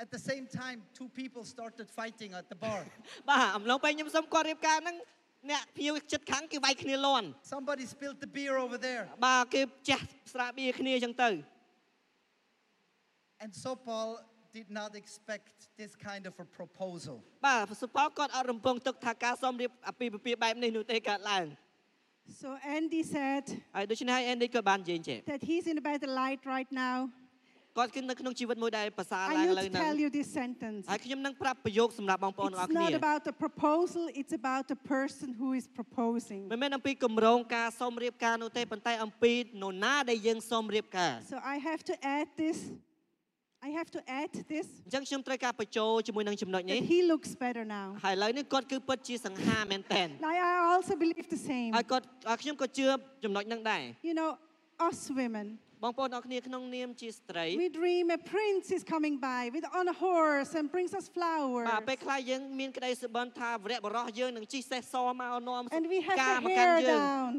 Speaker 5: at the same time, two people started fighting at the bar.
Speaker 6: បាទអំឡុងពេលខ្ញុំសុំគាត់រៀបការហ្នឹងអ្នកភៀវចិត្តខាងគេវាយគ្នាលន់
Speaker 5: Somebody spilled the beer over there.
Speaker 6: បាទគេជះស្រាបៀរគ្នាអញ្ចឹងទៅ
Speaker 5: And so Paul did not expect this kind of a proposal.
Speaker 6: បាទសុផលគាត់អត់រំពងទុកថាការសុំរៀបអាពាហ៍ពិពាហ៍បែបនេះនោះទេកើតឡើង
Speaker 7: So Andy said
Speaker 6: ហើយដូច្នេះហើយអេនឌីក៏បាននិយាយចេះ
Speaker 7: that he's in a better light right now.
Speaker 6: គាត់គឺនៅក្នុងជីវិតមួយដែលប្រសើរ
Speaker 7: I
Speaker 6: ឡើងឥ
Speaker 7: need
Speaker 6: ឡូវ
Speaker 7: to
Speaker 6: ហ្នឹង
Speaker 7: tell you this sentence.
Speaker 6: ហើយខ្ញុំនឹងប្រាប់ប្រយោគសម្រាប់បងប្អូនទាំងអស់
Speaker 7: It's
Speaker 6: គ្នា
Speaker 7: not about the proposal, it's about the person who is proposing.
Speaker 6: មិនមែនអំពីគម្រោងការសុំរៀបការនោះទេប៉ុន្តែអំពីនរណាដែលយើងសុំរៀបការ
Speaker 7: So I have to add this. I have to add this
Speaker 6: អញ្ចឹងខ្ញុំត្រូវការបញ្ចូលជាមួយនឹងចំណុច
Speaker 7: that
Speaker 6: នេះ
Speaker 7: he looks better now.
Speaker 6: ហើយឥឡូវនេះគាត់គឺពិតជាសង្ហាមែនតែន
Speaker 7: And I, I also believe the same.
Speaker 6: ហើយគាត់ហើយខ្ញុំក៏ជឿចំណុចហ្នឹងដែរ
Speaker 7: You know, us women,
Speaker 6: បងប្អូនអ្នកគ្នាក្នុងនាមជាស្ត្រី
Speaker 7: we dream a prince is coming by with on a horse and brings us
Speaker 6: បាទ
Speaker 7: flowers.
Speaker 6: ពេលខ្លះយើងមានក្តីសុបិនថាវរៈបរោះយើងនឹងជិះសេះសមកនាំ
Speaker 7: And we have
Speaker 6: ការ
Speaker 7: the
Speaker 6: មកកាន់
Speaker 7: hair
Speaker 6: យើង
Speaker 7: down.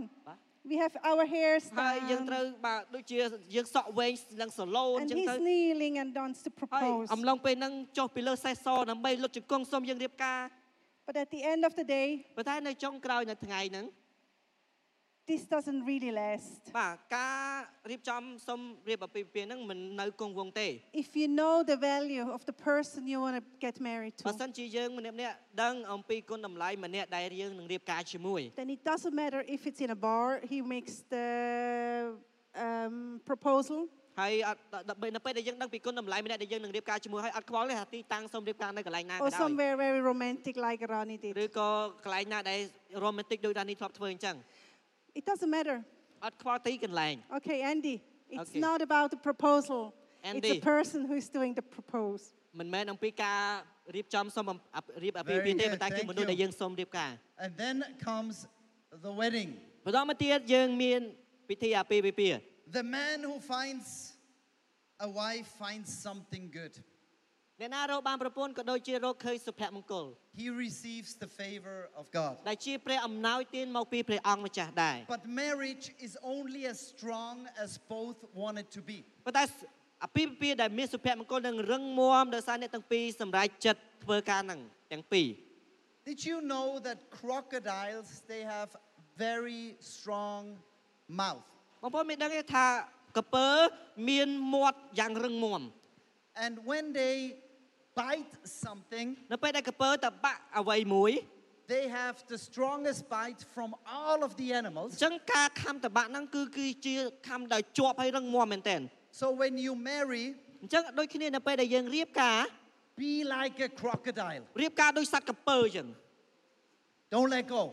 Speaker 7: We have our hairs
Speaker 6: ហើយយើងត្រូវ
Speaker 7: down.
Speaker 6: បាទដូចជាយើងសក់វែងនឹងសឡូនអ
Speaker 7: And
Speaker 6: ញ្ចឹង
Speaker 7: he's
Speaker 6: ទៅ
Speaker 7: kneeling and wants to
Speaker 6: ហើយ
Speaker 7: propose.
Speaker 6: អំឡុងពេលហ្នឹងចុះពីលើសេះសដើម្បីលុតជង្គង់សុំយើងរៀបការ
Speaker 7: But at the end of the day,
Speaker 6: ប៉ុន្តែនៅចុងក្រោយនៅថ្ងៃហ្នឹង
Speaker 7: this doesn't really last.
Speaker 6: បាទការរៀបចំសុំរៀបអាពាហ៍ពិពាហ៍ហ្នឹងមិននៅគង់វង្សទេ
Speaker 7: If you know the value of the person you want to get married
Speaker 6: បើ
Speaker 7: to,
Speaker 6: សិនជាយើងម្នាក់ៗដឹងអំពីគុណតម្លៃម្នាក់ដែលយើងនឹងរៀបការជាមួយ
Speaker 7: then it doesn't matter if it's in a bar, he makes the um, proposal.
Speaker 6: ហើយអត់ដល់ពេលនៅពេលដែលយើងដឹងពីគុណតម្លៃម្នាក់ដែលយើងនឹងរៀបការជាមួយហើយអត់ខ្វល់ទេថាទីតាំងសូមរៀបការនៅកន្លែងណាក៏
Speaker 7: Or
Speaker 6: ដោយ
Speaker 7: somewhere very romantic like Ronnie
Speaker 6: ឬ
Speaker 7: did.
Speaker 6: ក៏កន្លែងណាដែល romantic ដូចដានីធ្លាប់ធ្វើអញ្ចឹង
Speaker 7: It doesn't matter.
Speaker 6: អត់ខ្វល់ទីកន្លែង
Speaker 7: Okay, Andy, it's
Speaker 6: Okay.
Speaker 7: not about the proposal. It's
Speaker 6: Andy.
Speaker 7: the person who is doing the propose.
Speaker 6: មិនមែនអំពីការរៀបចំសូមអំអារៀបអាពាហ៍ពិពាហ៍ទេ
Speaker 5: Very good.
Speaker 6: ប៉ុន្តែគឺ
Speaker 5: Thank
Speaker 6: មនុស្ស
Speaker 5: you.
Speaker 6: ដែលយើងសូមរៀបការ
Speaker 5: And then comes the wedding.
Speaker 6: បន្តមកទៀតយើងមានពិធីអាពាហ៍ពិពាហ៍
Speaker 5: The man who finds a wife finds something good.
Speaker 6: អ្នកណារកបានប្រពន្ធក៏ដូចជារកឃើញសុភមង្គល
Speaker 5: He receives the favor of God.
Speaker 6: ដែលជាព្រះអំណោយទានមកពីព្រះអង្គម្ចាស់ដែរ
Speaker 5: But marriage is only as strong as both want it to be.
Speaker 6: ប៉ុន្តែអាពាហ៍ពិពាហ៍ដែលមានសុភមង្គលនឹងរឹងមាំដោយសារអ្នកទាំងពីរសម្រេចចិត្តធ្វើការហ្នឹងទាំងពីរ
Speaker 5: Did you know that crocodiles they have very strong mouth?
Speaker 6: បងប្អូនមានដឹងទេថាកពើមានមាត់យ៉ាងរឹងមាំ
Speaker 5: And when they bite something,
Speaker 6: នៅពេលដែលកពើតបាក់អ្វីមួយ
Speaker 5: they have the strongest bite from all of the
Speaker 6: អ
Speaker 5: animals.
Speaker 6: ញ្ចឹងការខំតបាក់ហ្នឹងគឺគឺជាខំដោយជាប់ហើយរឹងមាំមែនតើ
Speaker 5: So when you marry,
Speaker 6: អញ្ចឹងដូចគ្នានៅពេលដែលយើងរៀបការ
Speaker 5: be like a crocodile.
Speaker 6: រៀបការដោយសត្វកពើអញ្ចឹង
Speaker 5: Don't let go.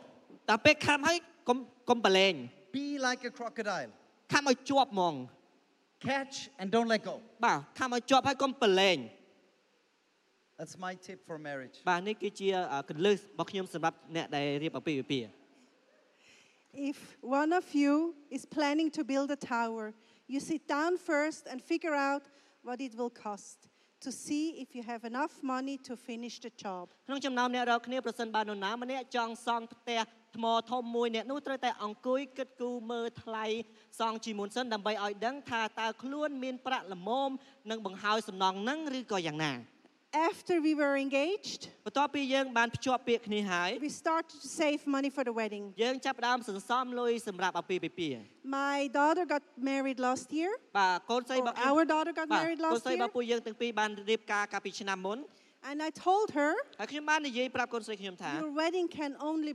Speaker 6: តែពេលខំហើយកុំកុំប្រឡែង
Speaker 5: Be like a crocodile.
Speaker 6: ខំឲ្យជាប់ហ្មង
Speaker 5: Catch and don't let go.
Speaker 6: បាទខំឲ្យជាប់ហើយកុំប្រឡែង
Speaker 5: That's my tip for marriage.
Speaker 6: បាទនេះគឺជាអ่าគន្លឹះរបស់ខ្ញុំសម្រាប់អ្នកដែលរៀបអាពាហ៍ពិពាហ៍
Speaker 7: If one of you is planning to build a tower, you sit down first and figure out what it will cost to see if you have enough money to finish the job.
Speaker 6: ក្នុងចំណោមអ្នករាល់គ្នាប្រសិនបើនរណាម្នាក់ចង់សង់ផ្ទះថ្មធំមួយអ្នកនោះត្រូវតែអង្គុយគិតគូរមើលថ្លៃសង់ជាមុនសិនដើម្បីឲ្យដឹងថាតើខ្លួនមានប្រាក់ល្មមនិងបង្ហើយសំណងនឹងឬក៏យ៉ាងណា
Speaker 7: After we were engaged,
Speaker 6: បន្ទាប់ពីយើងបានភ្ជាប់ពាក្យគ្នាហើយ
Speaker 7: we started to save money for the wedding.
Speaker 6: យើងចាប់ផ្ដើមសន្សំលុយសម្រាប់អាពាហ៍ពិពាហ៍
Speaker 7: My daughter got married last year.
Speaker 6: បាទកូនស្រី
Speaker 7: Or
Speaker 6: របស់ខ្ញុំ
Speaker 7: our daughter got
Speaker 6: បាទ
Speaker 7: married
Speaker 6: កូ
Speaker 7: last
Speaker 6: នស្រីរបស់
Speaker 7: year.
Speaker 6: ពួកយើងទាំងពីរបានរៀបការកាលពីឆ្នាំមុន
Speaker 7: And I told her,
Speaker 6: ហើយខ្ញុំបាននិយាយប្រាប់កូនស្រីខ្ញុំថា
Speaker 7: your wedding can only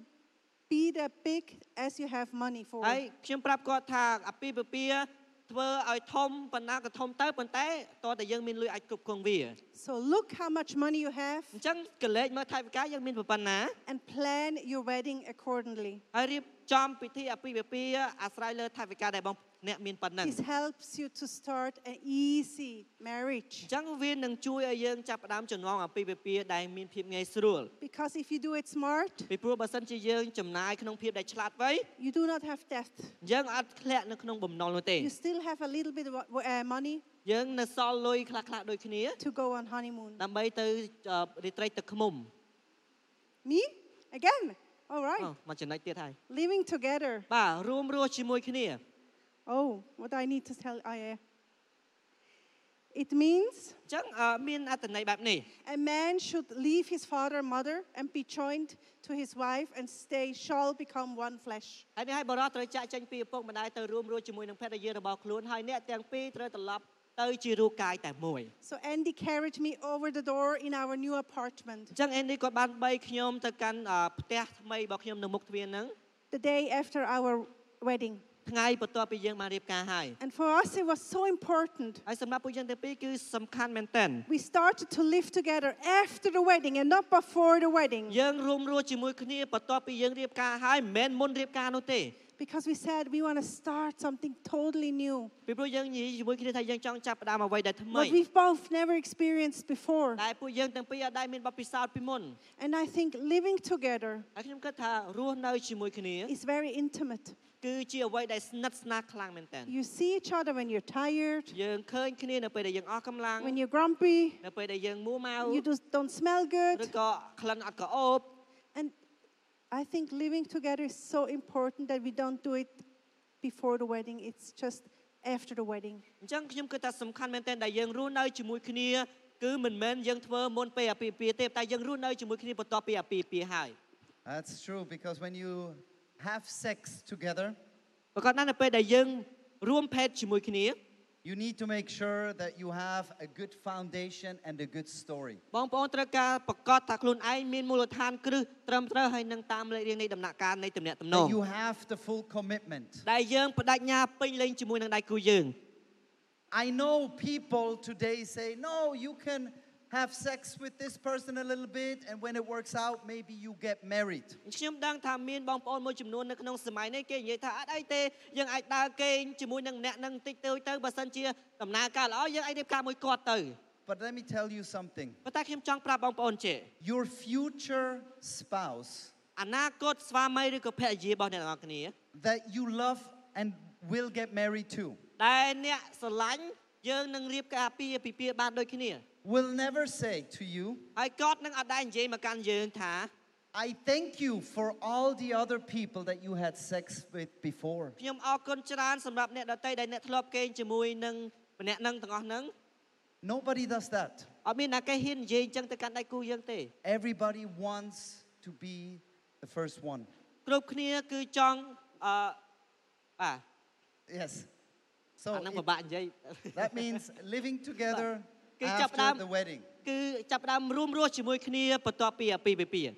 Speaker 7: be that big as you have money for.
Speaker 6: ហើយខ្ញុំប្រាប់គាត់ថាអាពាហ៍ពិពាហ៍ធ្វើឲ្យធំបណ្ណាក៏ធំទៅប៉ុន្តែតើតែយើងមានលុយអាចគ្រប់គ្រងវា
Speaker 7: So look how much money you have
Speaker 6: អញ្ចឹងកលេចមើលថវិកាយើងមានប្រប៉ុណ្ណា
Speaker 7: and plan your wedding accordingly.
Speaker 6: ហើយរៀបចំពិធីអាពាហ៍ពិពាហ៍អាស្រ័យលើថវិកាដែលបងអ្នកមានប៉ុណ្ណឹង
Speaker 7: This helps you to start an easy
Speaker 6: អ
Speaker 7: marriage.
Speaker 6: ញ្ចឹងវានឹងជួយឲ្យយើងចាប់ផ្ដើមចំណងអាពាហ៍ពិពាហ៍ដែលមានភាពងាយស្រួល
Speaker 7: Because if you do it smart,
Speaker 6: ពីព្រោះបើសិនជាយើងចំណាយក្នុងភាពដែលឆ្លាតវៃ
Speaker 7: you do not have debt.
Speaker 6: យើងអត់ធ្លាក់នៅក្នុងបំណុលនោះទេ
Speaker 7: You still have a little bit of uh, money
Speaker 6: យើងនៅសល់លុយខ្លះៗដូចគ្នា
Speaker 7: to go on honeymoon.
Speaker 6: ដើម្បីទៅអឺរីត្រីទឹកឃ្មុំ
Speaker 7: Me? Again? All right.
Speaker 6: អូមកចំណុចទៀតហើយ
Speaker 7: Living together.
Speaker 6: បាទរួមរស់ជាមួយគ្នា
Speaker 7: Oh, what I need to tell. I, uh, It means
Speaker 6: អញ្ចឹងអឺមានអត្ថន័យបែបនេះ
Speaker 7: a man should leave his father and mother and be joined to his wife and they shall become one flesh.
Speaker 6: ហើយនេះឲ្យបរិយត្រូវចាក់ចេញពីឪពុកម្ដាយទៅរួមរស់ជាមួយនឹងភរិយារបស់ខ្លួនហើយអ្នកទាំងពីរត្រូវត្រឡប់ទៅជារូបកាយតែមួយ
Speaker 7: So Andy carried me over the door in our new apartment.
Speaker 6: អញ្ចឹងអេនឌីគាត់បានបីខ្ញុំទៅកាន់អឺផ្ទះថ្មីរបស់ខ្ញុំនៅមុខទ្វារហ្នឹង
Speaker 7: the day after our wedding.
Speaker 6: ថ្ងៃបន្ទាប់ពីយើងបានរៀបការហើយ
Speaker 7: And for us, it was so important.
Speaker 6: ហើយសម្រាប់ពួកយើងទាំងពីរគឺសំខាន់មែនទែន
Speaker 7: We started to live together after the wedding and not before the wedding
Speaker 6: យើងរួមរស់ជាមួយគ្នាបន្ទាប់ពីយើងរៀបការហើយមិនមែនមុនរៀបការនោះទេ
Speaker 7: because we said we want to start something totally new,
Speaker 6: ពីព្រោះយើងនិយាយជាមួយគ្នាថាយើងចង់ចាប់ផ្ដើមអ្វីដែលថ្មី
Speaker 7: what we've both never experienced before.
Speaker 6: តែពួកយើងទាំងពីរអាចដែរមានបទពិសោធន៍ពីមុន
Speaker 7: And I think living together
Speaker 6: ហើយខ្ញុំគិតថារស់នៅជាមួយគ្នា
Speaker 7: is very intimate.
Speaker 6: គឺជាអ្វីដែលស្និទ្ធស្នាលខ្លាំងមែនទែន
Speaker 7: You see each other when you're tired,
Speaker 6: យើងឃើញគ្នានៅពេលដែលយើងអស់កម្លាំង
Speaker 7: when you're grumpy,
Speaker 6: នៅពេលដែលយើងមួម៉ៅ
Speaker 7: you just don't smell good.
Speaker 6: ឬក៏ក្លិនអត់ក្រអូប
Speaker 7: And I think living together is so important that we don't do it before the wedding, it's just after the wedding.
Speaker 6: អញ្ចឹងខ្ញុំគិតថាសំខាន់មែនទែនដែលយើងរស់នៅជាមួយគ្នាគឺមិនមែនយើងធ្វើមុនពេលអាពាហ៍ពិពាហ៍ទេតែយើងរស់នៅជាមួយគ្នាបន្ទាប់ពីអាពាហ៍ពិពាហ៍ហើយ
Speaker 5: That's true because when you have sex together,
Speaker 6: ប្រកបណាស់នៅពេលដែលយើងរួមភេទជាមួយគ្នា
Speaker 5: you need to make sure that you have a good foundation and a good story.
Speaker 6: បងប្អូនត្រូវការប្រកាសថាខ្លួនឯងមានមូលដ្ឋានគ្រឹះត្រឹមត្រូវហើយនឹងតាមលេខរៀងនៃដំណាក់កាលនៃទំនាក់ទំនង
Speaker 5: That you have the full commitment.
Speaker 6: ដែលយើងបដិញ្ញាពេញលេងជាមួយនឹងដៃគូយើង
Speaker 5: I know people today say, no, you can have sex with this person a little bit, and when it works out, maybe you get married.
Speaker 6: ខ្ញុំដឹងថាមានបងប្អូនមួយចំនួននៅក្នុងសម័យនេះគេនិយាយថាអត់អីទេយើងអាចដើរគេងជាមួយនឹងអ្នកនឹងតិចតួចទៅបើសិនជាដំណើរការល្អយើងអាចរៀបការមួយគាត់ទៅ
Speaker 5: But let me tell you something
Speaker 6: ប៉ុន្តែខ្ញុំចង់ប្រាប់បងប្អូនជេ
Speaker 5: your future spouse
Speaker 6: អនាគតស្វាមីឬក៏ភរិយារបស់អ្នកទាំងអស់គ្នា
Speaker 5: that you love and will get married to
Speaker 6: ដែលអ្នកស្រឡាញ់យើងនឹងរៀបការពីពិភាក្សាបានដូចគ្នា
Speaker 5: will never say to you,
Speaker 6: ហើយគាត់នឹងអត់ដែរនិយាយមកកាន់យើងថា
Speaker 5: I thank you for all the other people that you had sex with before.
Speaker 6: ខ្ញុំអរគុណច្រើនសម្រាប់អ្នកដតីដែលអ្នកធ្លាប់គេងជាមួយនឹងម្នាក់នឹងទាំងអស់ហ្នឹង
Speaker 5: Nobody does that.
Speaker 6: អត់មានអ្នកគេហ៊ាននិយាយអញ្ចឹងទៅកាន់ដៃគូយើងទេ
Speaker 5: Everybody wants to be the first one.
Speaker 6: គ្រប់គ្នាគឺចង់អឺបាទ
Speaker 5: Yes. So
Speaker 6: អាហ្នឹង
Speaker 5: it-
Speaker 6: ពិបាកនិយា យ
Speaker 5: that means living together
Speaker 6: គឺចាប់ផ្ដើម
Speaker 5: after the wedding.
Speaker 6: គឺចាប់ផ្ដើមរួមរស់ជាមួយគ្នាបន្ទាប់ពីអាពាហ៍ពិពាហ៍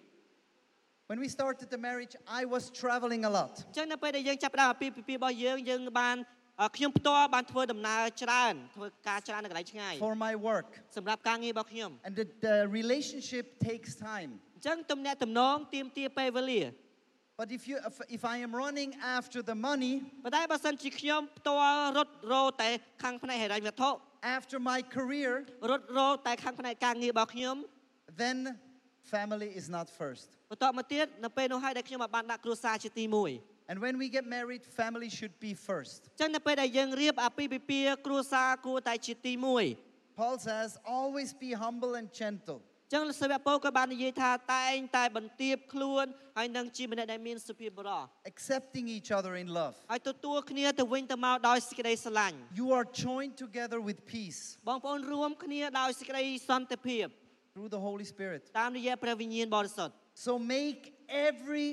Speaker 5: When we started the marriage, I was traveling a lot.
Speaker 6: អញ្ចឹងនៅពេលដែលយើងចាប់ផ្ដើមអាពាហ៍ពិពាហ៍របស់យើងយើងបានអ่าខ្ញុំផ្ទាល់បានធ្វើដំណើរច្រើនធ្វើការច្រើននៅកន្លែងឆ្ងាយ
Speaker 5: for my work.
Speaker 6: សម្រាប់ការងាររបស់ខ្ញុំ
Speaker 5: And the, the relationship takes time.
Speaker 6: អញ្ចឹងទំនាក់ទំនងទាមទារពេលវេលា
Speaker 5: But if, you, if, if I am running after the money,
Speaker 6: ប៉ុន្តែបើសិនជាខ្ញុំផ្ទាល់រត់រោតែខាងផ្នែកហិរញ្ញវត្ថុ
Speaker 5: after my career,
Speaker 6: រត់រោតែខាងផ្នែកការងាររបស់ខ្ញុំ
Speaker 5: then family is not first.
Speaker 6: បន្តមកទៀតនៅពេលនោះហើយដែលខ្ញុំអាចបានដាក់គ្រួសារជាទី1
Speaker 5: And when we get married, family should be first.
Speaker 6: ចឹងនៅពេលដែលយើងរៀបអាពាហ៍ពិពាហ៍គ្រួសារគួរតែជាទី1
Speaker 5: Paul says, always be humble and gentle.
Speaker 6: ចឹងលោកសាវកពោលក៏បាននិយាយថាតែងតែបន្ទាបខ្លួនហើយនឹងជាម្នាក់ដែលមានសុភាពបរោះ
Speaker 5: accepting each other in love.
Speaker 6: ហើយទទួលគ្នាទៅវិញទៅមកដោយសេចក្តីស្រឡាញ់
Speaker 5: You are joined together with peace
Speaker 6: បងប្អូនរួមគ្នាដោយសេចក្តីសន្តិភាព
Speaker 5: through the Holy Spirit.
Speaker 6: តាមរយៈព្រះវិញ្ញាណបរិសុទ្ធ
Speaker 5: So make every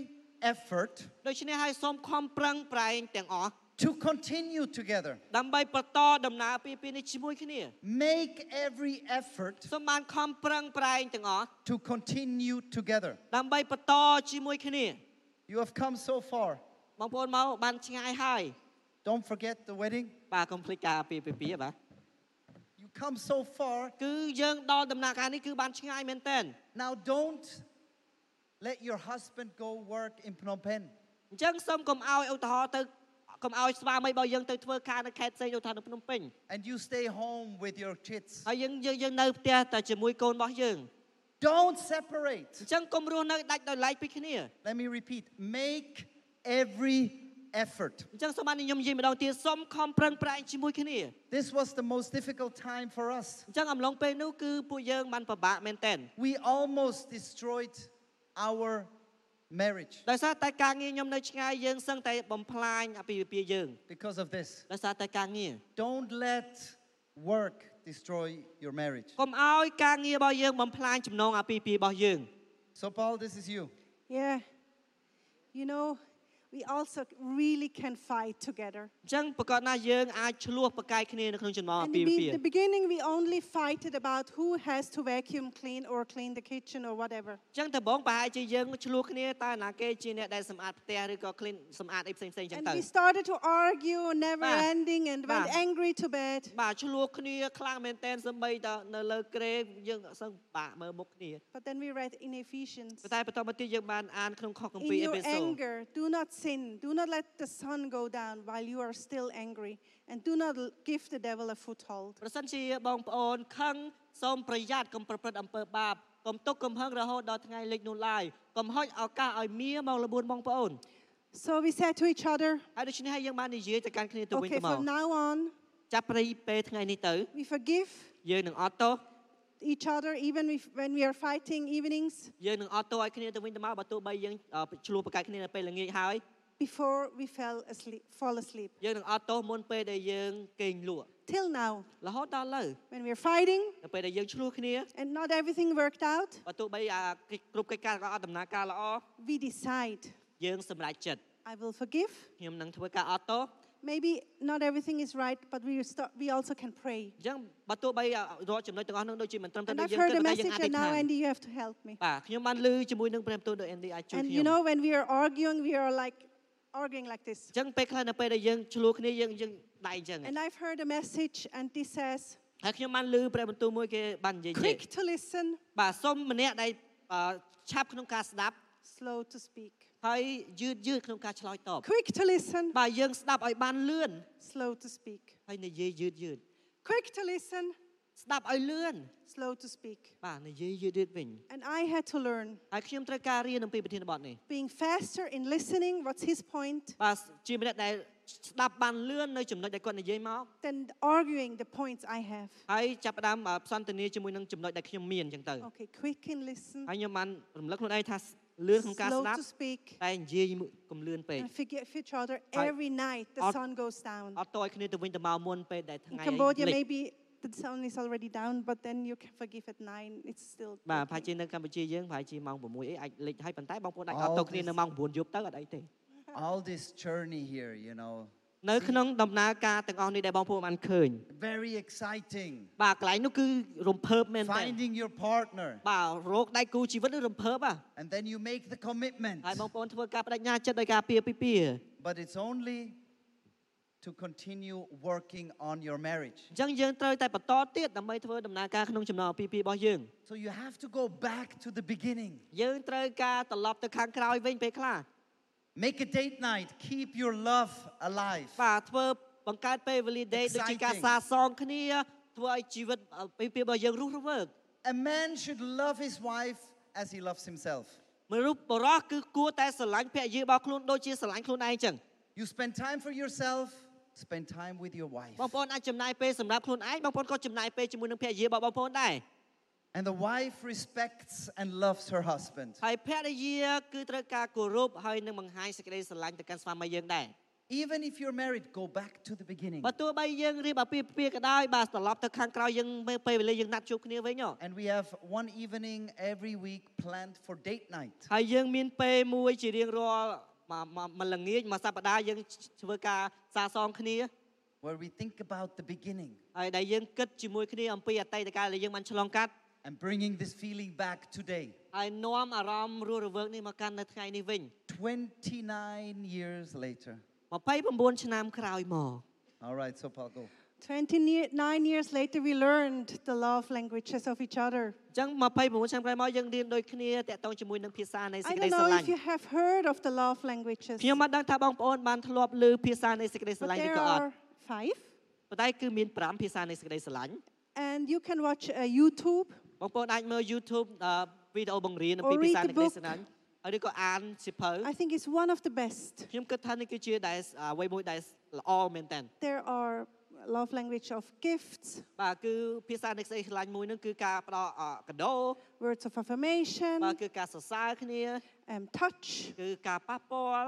Speaker 5: effort
Speaker 6: ដូច្នេះហើយសូមខំប្រឹងប្រែងទាំងអស់
Speaker 5: to continue together.
Speaker 6: ដើម្បីបន្តដំណើរពីពីនេះជាមួយគ្នា
Speaker 5: Make every effort
Speaker 6: សូមបានខំប្រឹងប្រែងទាំងអស់
Speaker 5: to continue together.
Speaker 6: ដើម្បីបន្តជាមួយគ្នា
Speaker 5: You have come so far.
Speaker 6: បងប្អូនមកបានឆ្ងាយហើយ
Speaker 5: Don't forget the wedding.
Speaker 6: បាទកុំភ្លេចការពីពីពីបាទ
Speaker 5: You come so far.
Speaker 6: គឺយើងដល់ដំណាក់កាលនេះគឺបានឆ្ងាយមែនតើ
Speaker 5: Now don't let your husband go work in Phnom Penh.
Speaker 6: អញ្ចឹងសូមកុំឲ្យឧទាហរណ៍ទៅកុំឲ្យស្វាមីរបស់យើងទៅធ្វើការនៅខេត្តផ្សេងឧទាហរណ៍នៅភ្នំពេញ
Speaker 5: And you stay home with your kids.
Speaker 6: ហើយយើងយើងយើងនៅផ្ទះតែជាមួយកូនរបស់យើង
Speaker 5: Don't
Speaker 6: អ
Speaker 5: separate.
Speaker 6: ញ្ចឹងកុំរស់នៅដាច់ដោយឡែកពីគ្នា
Speaker 5: Let me repeat. Make every effort.
Speaker 6: អញ្ចឹងសូមបានខ្ញុំនិយាយម្ដងទៀតសូមខំប្រឹងប្រែងជាមួយគ្នា
Speaker 5: This was the most difficult time for us.
Speaker 6: អញ្ចឹងអំឡុងពេលនោះគឺពួកយើងបានពិបាកមែនតើ
Speaker 5: We almost destroyed our marriage
Speaker 6: ដោយសារតែការងារខ្ញុំនៅឆ្ងាយយើងសឹងតែបំផ្លាញអាពាហ៍ពិពាហ៍យើង
Speaker 5: because of this.
Speaker 6: ដោយសារតែការងារ
Speaker 5: Don't let work destroy your marriage.
Speaker 6: កុំឲ្យការងាររបស់យើងបំផ្លាញចំណងអាពាហ៍ពិពាហ៍របស់យើង
Speaker 5: So, Paul, this is you.
Speaker 7: Yeah. You know, we also really can fight together.
Speaker 6: អញ្ចឹងប្រកបណាស់យើងអាចឆ្លោះប្រកែកគ្នានៅក្នុងចំណងអា
Speaker 7: And
Speaker 6: ពាហ៍ពិ
Speaker 7: we,
Speaker 6: ពាហ៍
Speaker 7: the beginning, we only fighted about who has to vacuum clean or clean the kitchen or whatever.
Speaker 6: អញ្ចឹងតើបងប្រហែលជាយើងឆ្លោះគ្នាតើណាគេជាអ្នកដែលសម្អាតផ្ទះឬក៏ clean សម្អាតអីផ្សេងៗអញ្ចឹង
Speaker 7: And
Speaker 6: ទៅ
Speaker 7: we started to argue, never
Speaker 6: Ba.
Speaker 7: ending, and went
Speaker 6: Ba.
Speaker 7: angry to bed.
Speaker 6: បាទឆ្លោះគ្នាខ្លាំងមែនតើសម្បីតនៅលើក្រេយើងអត់សឹងបាក់មើលមុខគ្នា
Speaker 7: But then we read in Ephesians
Speaker 6: ប៉ុន្តែបន្តមកទៀតយើងបានអានក្នុងខគម្ពី
Speaker 7: In
Speaker 6: រអេ
Speaker 7: your
Speaker 6: ភេសូ
Speaker 7: anger, do not sin. Do not let the sun go down while you are still angry. And do not l- give the devil a foothold.
Speaker 6: ប្រសិនជាបងប្អូនខឹងសូមប្រយ័ត្នកុំប្រព្រឹត្តអំពើបាបកុំទុកកំហឹងរហូតដល់ថ្ងៃលិចនោះឡើយកុំហុចឱកាសឲ្យមារមកលបួនបងប្អូន
Speaker 7: So we said to each other,
Speaker 6: ហើយដូច្នេះហើយយើងបាននិយាយទៅកាន់គ្នាទៅវិញ
Speaker 7: okay,
Speaker 6: ទៅមក
Speaker 7: from now on,
Speaker 6: ចាប់ពីពេលថ្ងៃនេះទៅ
Speaker 7: we forgive
Speaker 6: យើងនឹងអត់ទោស
Speaker 7: each other even if, when we are fighting evenings
Speaker 6: យើងនឹងអត់ទោសឲ្យគ្នាទៅវិញទៅមកបើទោះបីយើងអឺឆ្លោះប្រកែកគ្នានៅពេលល្ងាចហើយ
Speaker 7: before we fell asleep, fall asleep.
Speaker 6: យើងនឹងអត់ទោសមុនពេលដែលយើងគេងលក់
Speaker 7: Till now,
Speaker 6: រហូតដល់ឥឡូវ
Speaker 7: when we are fighting
Speaker 6: នៅពេលដែលយើងឆ្លោះគ្នា
Speaker 7: and not everything worked out,
Speaker 6: បើទោះបីអាកិច្ចគ្រប់កិច្ចការក៏អត់ដំណើរការល្អ
Speaker 7: we decide,
Speaker 6: យើងសម្រេចចិត្ត
Speaker 7: I will forgive.
Speaker 6: ខ្ញុំនឹងធ្វើការអត់ទោស
Speaker 7: Maybe not everything is right, but we, start, we also can pray.
Speaker 6: អញ្ចឹងបើទោះបីរាល់ចំណុចទាំងអស់នោះដូចជាមិនត្រឹមត្រូវ
Speaker 7: And
Speaker 6: ទេ
Speaker 7: I've
Speaker 6: យើង
Speaker 7: heard
Speaker 6: គិត
Speaker 7: a
Speaker 6: ថាយើង
Speaker 7: message,
Speaker 6: អាចទៅ
Speaker 7: and
Speaker 6: ខាង
Speaker 7: now, Andy, you have to help me.
Speaker 6: បាទខ្ញុំបានឮជាមួយនឹងព្រះបន្ទូលដោយ Andy អាចជួយ
Speaker 7: And
Speaker 6: ខ្ញុំ
Speaker 7: you know, when we are arguing, we are like arguing like this.
Speaker 6: អញ្ចឹងពេលខ្លះនៅពេលដែលយើងឆ្លោះគ្នាយើងយើងដៃអញ្ចឹង
Speaker 7: And I've heard a message, and this says,
Speaker 6: ហើយខ្ញុំបានឮព្រះបន្ទូលមួយគេបាននិយាយថា
Speaker 7: quick to listen,
Speaker 6: បាទសូមម្នាក់ដែលអឺឆាប់ក្នុងការស្ដាប់
Speaker 7: slow to speak.
Speaker 6: ហើយយឺតយឺតក្នុងការឆ្លើយតប
Speaker 7: Quick to listen,
Speaker 6: បាទយើងស្ដាប់ឲ្យបានលឿន
Speaker 7: slow to speak.
Speaker 6: ហើយនិយាយយឺតយឺត
Speaker 7: Quick to listen,
Speaker 6: ស្ដាប់ឲ្យលឿន
Speaker 7: slow to speak.
Speaker 6: បាទនិយាយយឺតយឺតវិញ
Speaker 7: And I had to learn
Speaker 6: ហើយខ្ញុំត្រូវការរៀនអំពីប្រធានបទនេះ
Speaker 7: being faster in listening, what's his point,
Speaker 6: បាទជាម្នាក់ដែលស្ដាប់បានលឿននៅចំណុចដែលគាត់និយាយមក
Speaker 7: than arguing the points I have.
Speaker 6: ហើយចាប់ផ្ដើមអ่าផ្សន្ទនាជាមួយនឹងចំណុចដែលខ្ញុំមានអញ្ចឹងទៅ
Speaker 7: Okay, quick in listen,
Speaker 6: ហើយខ្ញុំបានរំលឹកខ្លួនឯងថាលឿនក្នុងការ
Speaker 7: slow
Speaker 6: ស្ដាប់
Speaker 7: to speak,
Speaker 6: តែនិយាយមួយកុំលឿនពេក
Speaker 7: and forgive each other
Speaker 6: I-
Speaker 7: every night the
Speaker 6: I'll-
Speaker 7: sun goes down.
Speaker 6: អត់តឲ្យគ្នាទៅវិញទៅមកមុនពេលដែល
Speaker 7: In
Speaker 6: ថ្ងៃ
Speaker 7: Cambodia,
Speaker 6: លេច
Speaker 7: maybe the sun is already down, but then you can forgive at nine. It's still.
Speaker 6: បាទប្រហែល
Speaker 7: okay.
Speaker 6: ជានៅកម្ពុជាយើងប្រហែលជាម៉ោង6អីអាចលេចហើយប៉ុន្តែបងប្អូនអាចអ
Speaker 5: All
Speaker 6: ត់តគ្នា
Speaker 5: this-
Speaker 6: នៅម៉ោង9យប់ទៅអត់អីទេ
Speaker 5: All this journey here, you know,
Speaker 6: នៅក្នុងដំណើរការទាំងអស់នេះដែលបងប្អូនបានឃើញ
Speaker 5: very exciting.
Speaker 6: បាទកន្លែងនោះគឺរំភើបមែនតើ
Speaker 5: Finding your partner,
Speaker 6: បាទរោគដៃគូជីវិតនឹងរំភើបហ่ะ
Speaker 5: and then you make the commitment.
Speaker 6: ហើយបងប្អូនធ្វើការបដិញ្ញាចិត្តដោយការពៀពីពីរ
Speaker 5: But it's only to continue working on your marriage.
Speaker 6: អញ្ចឹងយើងត្រូវតែបន្តទៀតដើម្បីធ្វើដំណើរការក្នុងចំណងអាពាហ៍ពិពាហ៍របស់យើង
Speaker 5: So you have to go back to the beginning.
Speaker 6: យើងត្រូវការត្រឡប់ទៅខាងក្រោយវិញពេលខ្លះ
Speaker 5: Make a date night. Keep your love alive.
Speaker 6: បាទធ្វើបង្កើតពេលវេលា day ដូចជាការ
Speaker 5: Exciting.
Speaker 6: សាសងគ្នាធ្វើឲ្យជីវិតអាពាហ៍ពិពាហ៍របស់យើងរស់រវើក
Speaker 5: A man should love his wife as he loves himself.
Speaker 6: មនុស្សបរោះគឺគួរតែស្រឡាញ់ភរិយារបស់ខ្លួនដូចជាស្រឡាញ់ខ្លួនឯងចឹង
Speaker 5: You spend time for yourself, spend time with your wife.
Speaker 6: បងប្អូនអាចចំណាយពេលសម្រាប់ខ្លួនឯងបងប្អូនក៏ចំណាយពេលជាមួយនឹងភរិយារបស់បងប្អូនដែរ
Speaker 5: And the wife respects and loves her husband,
Speaker 6: ហើយភរិយាគឺត្រូវការគោរពហើយនឹងបង្ហាញសេចក្តីស្រឡាញ់ទៅកាន់ស្វាមីយើងដែរ
Speaker 5: even if you're married. Go back to the beginning.
Speaker 6: បើទោះបីយើងរៀបអាពាហ៍ពិពាហ៍ក៏ដោយបាទត្រឡប់ទៅខាងក្រោយយើងមើលពេលវេលាយើងណាត់ជួបគ្នាវិញហ៎
Speaker 5: And we have one evening every week planned for date night.
Speaker 6: ហើយយើងមានពេលមួយជារៀងរាល់មួយមួយមួយល្ងាចមួយសប្តាហ៍យើងធ្វើការសាសងគ្នា
Speaker 5: where we think about the beginning
Speaker 6: ហើយដែលយើងគិតជាមួយគ្នាអំពីអតីតកាលដែលយើងបានឆ្លងកាត់
Speaker 5: and bringing this feeling back today.
Speaker 6: ហើយនាំអារម្មណ៍រស់រវើកនេះមកកាន់នៅថ្ងៃនេះវិញ
Speaker 5: 29 years later.
Speaker 6: 29ឆ្នាំក្រោយមក
Speaker 5: All right, so Paul, go.
Speaker 7: 29 years later, we learned the love languages of each other.
Speaker 6: អញ្ចឹង29ឆ្នាំក្រោយមកយើងរៀនដូចគ្នាតាក់ទងជាមួយនឹងភាសានៃសេច
Speaker 7: I
Speaker 6: ក្តី
Speaker 7: don't
Speaker 6: ស្រ
Speaker 7: know
Speaker 6: ឡាញ់
Speaker 7: if you have heard of the love languages.
Speaker 6: ខ្ញុំមិនដឹងថាបងប្អូនបានធ្លាប់ឮភាសានៃសេចក្តីស្រ
Speaker 7: but
Speaker 6: ឡាញ់ឬ
Speaker 7: there
Speaker 6: ក៏អត់
Speaker 7: are five,
Speaker 6: ប៉ុន្តែគឺមាន5ភាសានៃសេចក្តីស្រឡាញ់
Speaker 7: and you can watch uh, YouTube
Speaker 6: បងប្អូនអាចមើល YouTube អឺវីដេអូបង្រៀនអំពី
Speaker 7: Or
Speaker 6: ភាសា
Speaker 7: read
Speaker 6: នៃសេច
Speaker 7: the
Speaker 6: ក្តី
Speaker 7: book.
Speaker 6: ស្រឡាញ់ហើយឬក៏អានសៀវភៅ
Speaker 7: I think it's one of the best.
Speaker 6: ខ្ញុំគិតថានេះគឺជាដែលអ្វីមួយដែលល្អមែនតើ
Speaker 7: There are love language of gifts,
Speaker 6: បាទគឺភាសានៃសេចក្តីស្រឡាញ់មួយហ្នឹងគឺការផ្ដល់អ่ากដោ
Speaker 7: words of affirmation,
Speaker 6: បាទគឺការសរសើរគ្នា
Speaker 7: um, touch,
Speaker 6: គឺការប៉ះពាល់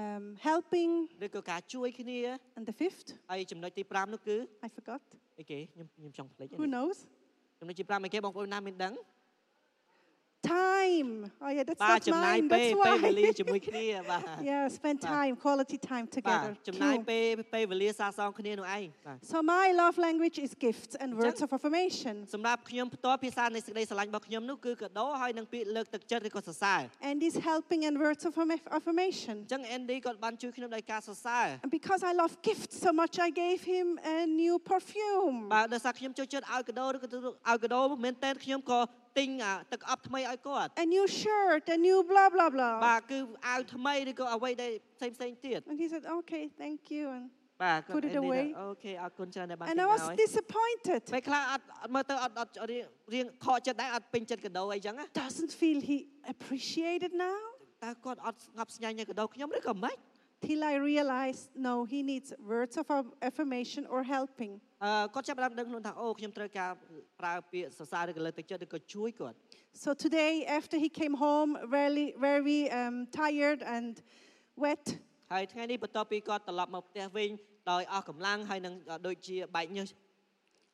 Speaker 7: um, helping,
Speaker 6: ឬក៏ការជួយគ្នា
Speaker 7: and the fifth,
Speaker 6: ហើយចំណុចទី5នោះគឺ
Speaker 7: I forgot.
Speaker 6: អីគេខ្ញុំខ្ញុំចង់ភ្លេច
Speaker 7: Who
Speaker 6: ហ្នឹង
Speaker 7: knows?
Speaker 6: ចំណុចទី5អីគេបងប្អូនណាមិនដឹង
Speaker 7: Time. Oh, yeah, that's
Speaker 6: បាទ
Speaker 7: not
Speaker 6: ចំណាយ
Speaker 7: mine.
Speaker 6: ពេល
Speaker 7: That's
Speaker 6: ពេល
Speaker 7: why.
Speaker 6: វេលា ជាមួយគ្នាបាទ
Speaker 7: yeah, spend
Speaker 6: Ba.
Speaker 7: time, quality time
Speaker 6: បាទ
Speaker 7: together.
Speaker 6: ចំណាយ
Speaker 7: True.
Speaker 6: ពេលពេលវេលាសាសងគ្នានោះឯងបាទ
Speaker 7: So my love language is gifts and
Speaker 6: Chắc.
Speaker 7: words of affirmation.
Speaker 6: សម្រាប់ខ្ញុំផ្ទាល់ភាសានៃសេចក្តីស្រឡាញ់របស់ខ្ញុំនោះគឺកដោហើយនឹងពាក្យលើកទឹកចិត្តឬក៏សរសើរ
Speaker 7: And these helping and words of affirm-
Speaker 6: អ
Speaker 7: affirmation.
Speaker 6: ញ្ចឹង Andy គាត់បានជួយខ្ញុំដោយការសរសើរ
Speaker 7: And because I love gifts so much, I gave him a new perfume.
Speaker 6: បាទដោយសារខ្ញុំចូលចិត្តឲ្យកដោឬក៏ទទួលឲ្យកដោមែនតើខ្ញុំក៏ទិញអាទឹកអប់ថ្មីឲ្យគាត់
Speaker 7: A new shirt, a new blah, blah, blah.
Speaker 6: បាទគឺអាវថ្មីឬក៏អ្វីដែលផ្សេងផ្សេងៗទៀត
Speaker 7: And he said, okay, thank you. And,
Speaker 6: បាទ
Speaker 7: Put
Speaker 6: គាត់
Speaker 7: it
Speaker 6: Andy
Speaker 7: away.
Speaker 6: ថាអូខេអរគុណច្រើនដែលបានទិញ
Speaker 7: and I
Speaker 6: ឲ្យ
Speaker 7: was disappointed.
Speaker 6: ពេលខ្លះអត់អត់មើលទៅអត់អត់រៀងរៀងខកចិត្តដែរអត់ពេញចិត្តកដោអីចឹងណា
Speaker 7: Doesn't feel he appreciated now
Speaker 6: តើគាត់អត់ស្ងប់ស្ងាញ់នៅកដោខ្ញុំឬក៏មិន
Speaker 7: till I realized, no, he needs words of aff- affirmation or helping.
Speaker 6: អឺគាត់ចាប់ផ្ដើមដឹងខ្លួនថាអូខ្ញុំត្រូវការប្រើពាក្យសរសើរឬក៏លើកទឹកចិត្តឬក៏ជួយគាត់
Speaker 7: So today, after he came home, very, very um, tired and wet,
Speaker 6: ហើយថ្ងៃនេះបន្ទាប់ពីគាត់ត្រឡប់មកផ្ទះវិញដោយអស់កម្លាំងហើយនឹងដូចជាបែកញើស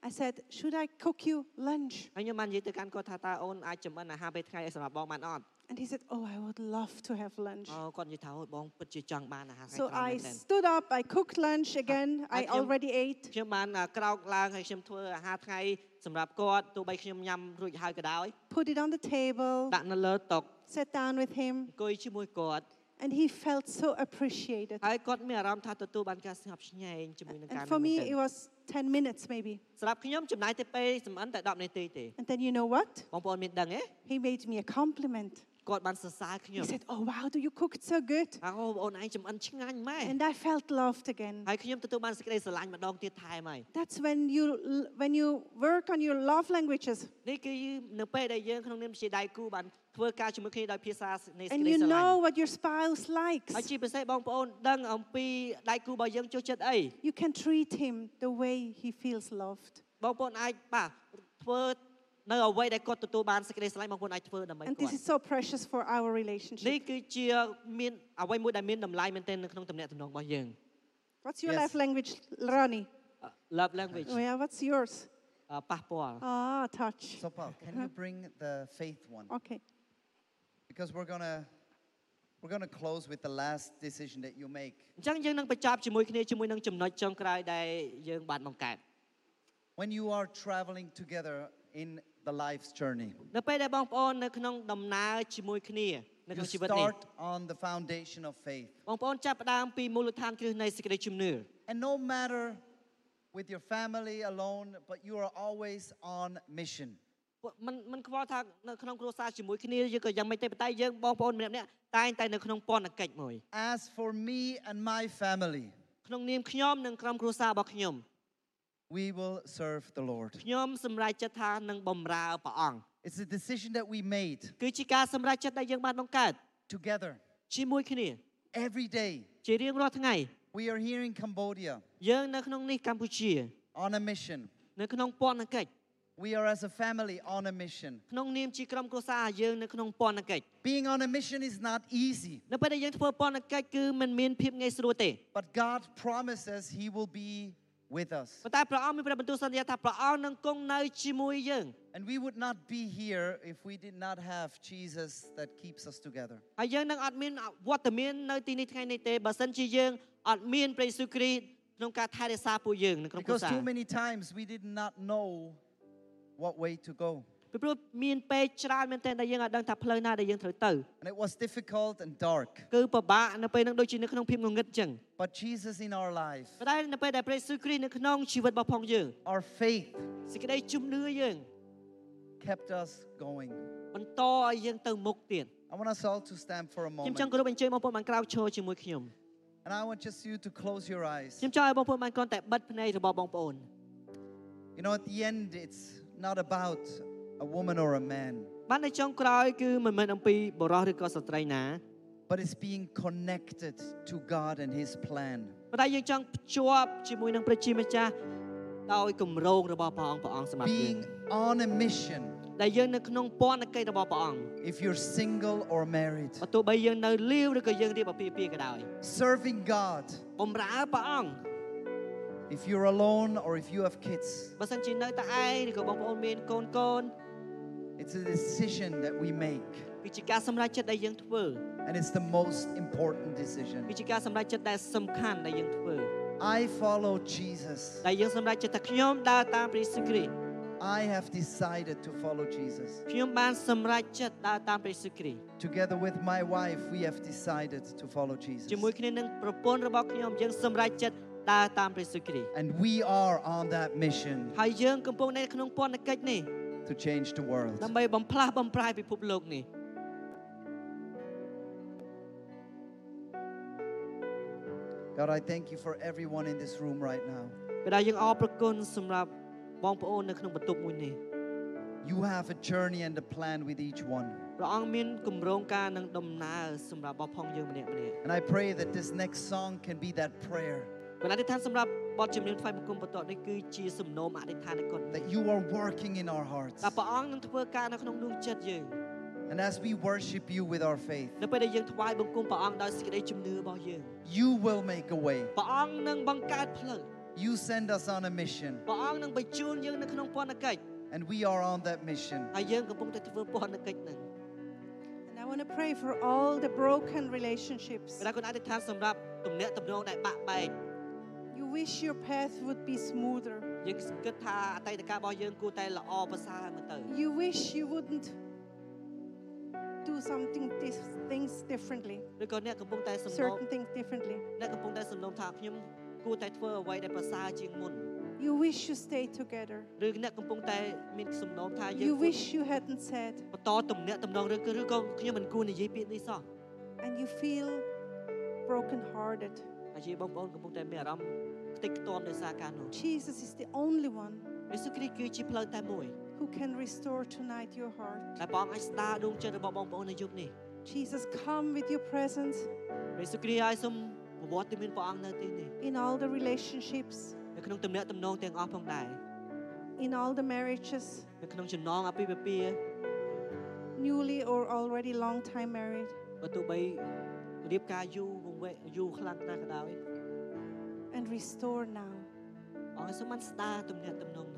Speaker 7: I said, should I cook you lunch?
Speaker 6: ហើយខ្ញុំបាននិយាយទៅកាន់គាត់ថាតើអូនអាចចម្អិនអាហារពេលថ្ងៃឲ្យសម្រាប់បងបានអត់
Speaker 7: And he said, oh, I would love to have lunch.
Speaker 6: អូគាត់និយាយថាអូយបងពិតជាចង់បានអាហារថ្ងៃ
Speaker 7: So
Speaker 6: ត្រង់មែ
Speaker 7: I
Speaker 6: នទែន
Speaker 7: stood up, I cooked lunch again.
Speaker 6: I
Speaker 7: I
Speaker 6: feel-
Speaker 7: already ate.
Speaker 6: ខ្ញុំបានអ่าក្រោកឡើងហើយខ្ញុំធ្វើអាហារថ្ងៃសម្រាប់គាត់ទោះបីខ្ញុំញ៉ាំរួចហើយក៏ដោយ
Speaker 7: put it on the table,
Speaker 6: ដាក់នៅលើតុ
Speaker 7: sat down with him,
Speaker 6: អង្គុយជាមួយគាត់
Speaker 7: and he felt so appreciated.
Speaker 6: ហើយគាត់មានអារម្មណ៍ថាទទួលបានការស្ងប់ស្ងែងជាមួយនឹងការ
Speaker 7: And
Speaker 6: នោះ
Speaker 7: for
Speaker 6: មែន
Speaker 7: me,
Speaker 6: ទែន
Speaker 7: it was 10 minutes maybe.
Speaker 6: សម្រាប់ខ្ញុំចំណាយទៅពេលសម្អិនតែ10នាទីទេ
Speaker 7: And then you know what?
Speaker 6: បងប្អូនមានដឹងទេ
Speaker 7: He made me a compliment.
Speaker 6: គាត់បានសរសើរខ្ញុំ
Speaker 7: He said, Oh, wow, do you cook it so good?
Speaker 6: ថាអូបងអូនឯងចំអិនឆ្ងាញ់ម៉ែ
Speaker 7: And I felt loved again.
Speaker 6: ហើយខ្ញុំទទួលបានសេចក្តីស្រឡាញ់ម្ដងទៀតថែមហើយ
Speaker 7: That's when you, l- when you work on your love languages
Speaker 6: នេះគឺនៅពេលដែលយើងក្នុងនាមជាដៃគូបានធ្វើការជាមួយគ្នាដោយភាសានៃសេច
Speaker 7: and
Speaker 6: ក្តី
Speaker 7: you
Speaker 6: ស្រឡាញ់
Speaker 7: know what your spouse likes.
Speaker 6: ហើយជាពិសេសបងប្អូនដឹងអំពីដៃគូរបស់យើងចូលចិត្តអី
Speaker 7: You can treat him the way he feels loved.
Speaker 6: បងប្អូនអាចបាទធ្វើនៅអ្វីដែលគាត់ទទួលបានសេចក្តីស្រឡាញ់បងប្អូនអាចធ្វើដើម្បី
Speaker 7: And
Speaker 6: គា
Speaker 7: this
Speaker 6: ត់
Speaker 7: is so precious for our
Speaker 6: នេះ
Speaker 7: relationship.
Speaker 6: គឺជាមានអ្វីមួយដែលមានតម្លៃមែនទែននៅក្នុងទំនាក់ទំនងរបស់យើង
Speaker 7: What's your
Speaker 6: Yes.
Speaker 7: love language, Ronnie?
Speaker 6: love language
Speaker 7: Oh, yeah, what's yours?
Speaker 6: អ่าប៉ះពាល់
Speaker 7: Ah, touch.
Speaker 5: So, Paul, can you bring the faith one?
Speaker 7: Okay.
Speaker 5: Because we're going to we're going to close with the last decision that you make.
Speaker 6: អញ្ចឹងយើងនឹងបញ្ចប់ជាមួយគ្នាជាមួយនឹងចំណុចចុងក្រោយដែលយើងបានបង្កើត
Speaker 5: When you are traveling together in the life's journey,
Speaker 6: នៅពេលដែលបងប្អូននៅក្នុងដំណើរជាមួយគ្នានៅ
Speaker 5: you
Speaker 6: ក្នុងជីវិតនេះ
Speaker 5: start on the foundation of faith.
Speaker 6: បងប្អូនចាប់ផ្ដើមពីមូលដ្ឋានគ្រឹះនៃសេចក្តីជំនឿ
Speaker 5: And no matter with your family alone, but you are always on mission.
Speaker 6: ពួកមិនមិនខ្វល់ថានៅក្នុងគ្រួសារជាមួយគ្នាយើងក៏យ៉ាងម៉េចទេប៉ុន្តែយើងបងប្អូនម្នាក់ៗតែងតែនៅក្នុងពន្ធកិច្ចមួយ
Speaker 5: As for me and my family,
Speaker 6: ក្នុងនាមខ្ញុំនិងក្រុមគ្រួសាររបស់ខ្ញុំ
Speaker 5: we will serve the Lord.
Speaker 6: ខ្ញុំសម្រេចចិត្តថានឹងបម្រើព្រះអង្គ
Speaker 5: It's a decision that we made
Speaker 6: គឺជាការសម្រេចចិត្តដែលយើងបានបង្កើត
Speaker 5: together
Speaker 6: ជាមួយគ្នា
Speaker 5: every day.
Speaker 6: ជារៀងរាល់ថ្ងៃ
Speaker 5: We are here in Cambodia
Speaker 6: យើងនៅក្នុងនេះកម្ពុជា
Speaker 5: on a mission.
Speaker 6: នៅក្នុងពន្ធកិច្ច
Speaker 5: We are as a family on a mission.
Speaker 6: ក្នុងនាមជាក្រុមគ្រួសារយើងនៅក្នុងពន្ធកិច្ច
Speaker 5: Being on a mission is not easy,
Speaker 6: នៅពេលដែលយើងធ្វើពន្ធកិច្ចគឺมันមានភាពងាយស្រួលទេ
Speaker 5: but God promises He will be with us.
Speaker 6: ប៉ុន្តែព្រះអង្គមានព្រះបន្ទូលសន្យាថាព្រះអង្គនឹងគង់នៅជាមួយយើង
Speaker 5: And we would not be here if we did not have Jesus that keeps us together.
Speaker 6: ហើយយើងនឹងអត់មានវត្តមាននៅទីនេះថ្ងៃនេះទេបើសិនជាយើងអត់មានព្រះយេស៊ូវគ្រីស្ទក្នុងការថែរក្សាពួកយើងនៅក្នុងគ្រួ
Speaker 5: Because
Speaker 6: សារ
Speaker 5: too many times we did not know what way to go.
Speaker 6: ពីព្រោះមានពេលច្រើនមែនទែនដែលយើងអាចដឹងថាផ្លូវណាដែលយើងត្រូវទៅ
Speaker 5: And it was difficult and dark.
Speaker 6: គឺពិបាកនៅពេលនឹងដូចជានៅក្នុងភាពងងឹតអញ្ចឹង
Speaker 5: But Jesus in our life,
Speaker 6: ប៉ុន្តែនៅពេលដែលព្រះយេស៊ូវគ្រីស្ទនៅក្នុងជីវិតរបស់ផងយើង
Speaker 5: our faith
Speaker 6: សេចក្តីជំនឿយើង
Speaker 5: kept us going.
Speaker 6: បន្តឲ្យយើងទៅមុខទៀត
Speaker 5: I want us all to stand for a
Speaker 6: ខ្ញុំ
Speaker 5: moment.
Speaker 6: ចង់គោរពអញ្ជើញបងប្អូនបានក្រោកឈរជាមួយខ្ញុំ
Speaker 5: And I want just you to close your eyes.
Speaker 6: ខ្ញុំចង់ឲ្យបងប្អូនបានគ្រាន់តែបិទភ្នែករបស់បងប្អូន
Speaker 5: You know, at the end, it's not about a woman or a man,
Speaker 6: បាននៅចុងក្រោយគឺមិនមែនអំពីបុរសឬក៏ស្ត្រីណា
Speaker 5: but it's being connected to God and His plan.
Speaker 6: ប៉ុន្តែយើងចង់ភ្ជាប់ជាមួយនឹងព្រះជាម្ចាស់ដោយគម្រោងរបស់ព្រះអង្គព្រះអង្គសម្រាប់យើង
Speaker 5: Being on a mission,
Speaker 6: ដែលយើងនៅក្នុងពន្ធកិច្ចរបស់ព្រះអង្គ
Speaker 5: if you're single or married,
Speaker 6: បើទោះបីយើងនៅលាវឬក៏យើងរៀបអាពាហ៍ពិពាហ៍ក៏ដោយ
Speaker 5: serving God,
Speaker 6: បំរើព្រះអង្គ
Speaker 5: if you're alone or if you have kids.
Speaker 6: បើសិនជានៅតែឯងឬក៏បងប្អូនមានកូនកូន
Speaker 5: It's a decision that we make,
Speaker 6: គឺជាការសម្រេចចិត្តដែលយើងធ្វើ
Speaker 5: and it's the most important decision.
Speaker 6: គឺជាការសម្រេចចិត្តដែលសំខាន់ដែលយើងធ្វើ
Speaker 5: I follow Jesus.
Speaker 6: ដែលយើងសម្រេចចិត្តថាខ្ញុំដើរតាមព្រះយេស៊ូវគ្រីស្ទ
Speaker 5: I have decided to follow Jesus.
Speaker 6: ខ្ញុំបានសម្រេចចិត្តដើរតាមព្រះយេស៊ូវគ្រីស្ទ
Speaker 5: Together with my wife, we have decided to follow Jesus.
Speaker 6: ជាមួយគ្នានឹងប្រពន្ធរបស់ខ្ញុំយើងសម្រេចចិត្តដើរតាមព្រះយេស៊ូវគ្រីស្ទ
Speaker 5: And we are on that mission
Speaker 6: ហើយយើងកំពុងនៅក្នុងពន្ធកិច្ចនេះ
Speaker 5: to change the world.
Speaker 6: ដើម្បីបំផ្លាស់បំប្រែពិភពលោកនេះ
Speaker 5: God, I thank you for everyone in this room right now.
Speaker 6: ព្រះដែលយើងអរព្រគុណសម្រាប់បងប្អូននៅក្នុងបន្ទប់មួយនេះ
Speaker 5: You have a journey and a plan with each one.
Speaker 6: ព្រះអង្គមានគម្រោងការនិងដំណើរសម្រាប់បងផងយើងម្នាក់ម្នាក់
Speaker 5: And I pray that this next song can be that prayer
Speaker 6: ព្រះអធិដ្ឋានសម្រាប់បទចម្រៀងថ្វាយបង្គំបន្ទាប់នេះគឺជាសំណូមអធិដ្ឋាននៃគុណ
Speaker 5: that you are working in our hearts.
Speaker 6: តែព្រះអង្គនឹងធ្វើការនៅក្នុងដួងចិត្តយើង
Speaker 5: And as we worship you with our faith,
Speaker 6: នៅពេលដែលយើងថ្វាយបង្គំព្រះអង្គដោយសេចក្តីជំនឿរបស់យើង
Speaker 5: you will make a way.
Speaker 6: ព្រះអង្គនឹងបង្កើតផ្លូវ
Speaker 5: You send us on a mission,
Speaker 6: ព្រះអង្គនឹងបញ្ជូនយើងនៅក្នុងពន្ធកិច្ច
Speaker 5: and we are on that mission.
Speaker 6: ហើយយើងកំពុងតែធ្វើពន្ធកិច្ចនឹង
Speaker 7: And I want to pray for all the broken relationships.
Speaker 6: ព្រះគុណអធិដ្ឋានសម្រាប់ទំនាក់ទំនងដែលបាក់បែក
Speaker 7: You wish your path would be smoother.
Speaker 6: យើងគិតថាអតីតកាលរបស់យើងគួរតែល្អប្រសើរមកទៅ
Speaker 7: You wish you wouldn't do something dis- things differently,
Speaker 6: ឬក៏អ្នកកំពុងតែសំណូម
Speaker 7: certain things differently.
Speaker 6: អ្នកកំពុងតែសំណូមថាខ្ញុំគួរតែធ្វើអ្វីដែលប្រសើរជាងមុន
Speaker 7: You wish you stayed together.
Speaker 6: ឬអ្នកកំពុងតែមានសំណូមថាយើ
Speaker 7: You
Speaker 6: ងគួរ
Speaker 7: wish you hadn't said,
Speaker 6: បន្តទំនាក់ទំនងឬក៏ឬក៏ខ្ញុំមិនគួរនិយាយពាក្យនេះសោះ
Speaker 7: and you feel brokenhearted.
Speaker 6: ហើយជាបងប្អូនកំពុងតែមានអារម្មណ៍ខ្ទេចខ្ទាំដោយសារការនោះយ
Speaker 7: Jesus is the only one
Speaker 6: េស៊ូវគ្រីស្ទគឺជាផ្លូវតែមួយ
Speaker 7: who can restore tonight your heart.
Speaker 6: ដែលព្រះអង្គអាចស្ដារដួងចិត្តរបស់បងប្អូននៅយប់នេះ
Speaker 7: Jesus, come with your presence
Speaker 6: ព្រះយេស៊ូវគ្រីស្ទឲ្យសូមប្រវត្តិមានព្រះអង្គនៅទីនេះ
Speaker 7: in all the relationships,
Speaker 6: នៅក្នុងទំនាក់ទំនងទាំងអស់ផងដែរ
Speaker 7: in all the marriages,
Speaker 6: នៅក្នុងចំណងអាពាហ៍ពិពាហ៍
Speaker 7: newly or already long time married.
Speaker 6: បើទោះបីរៀបការយូរវង្វេងយូរខ្លាំងណាស់ក៏ដោយ
Speaker 7: and restore now.
Speaker 6: អង្គសូមបានស្ដារទំនាក់ទំនងនោះ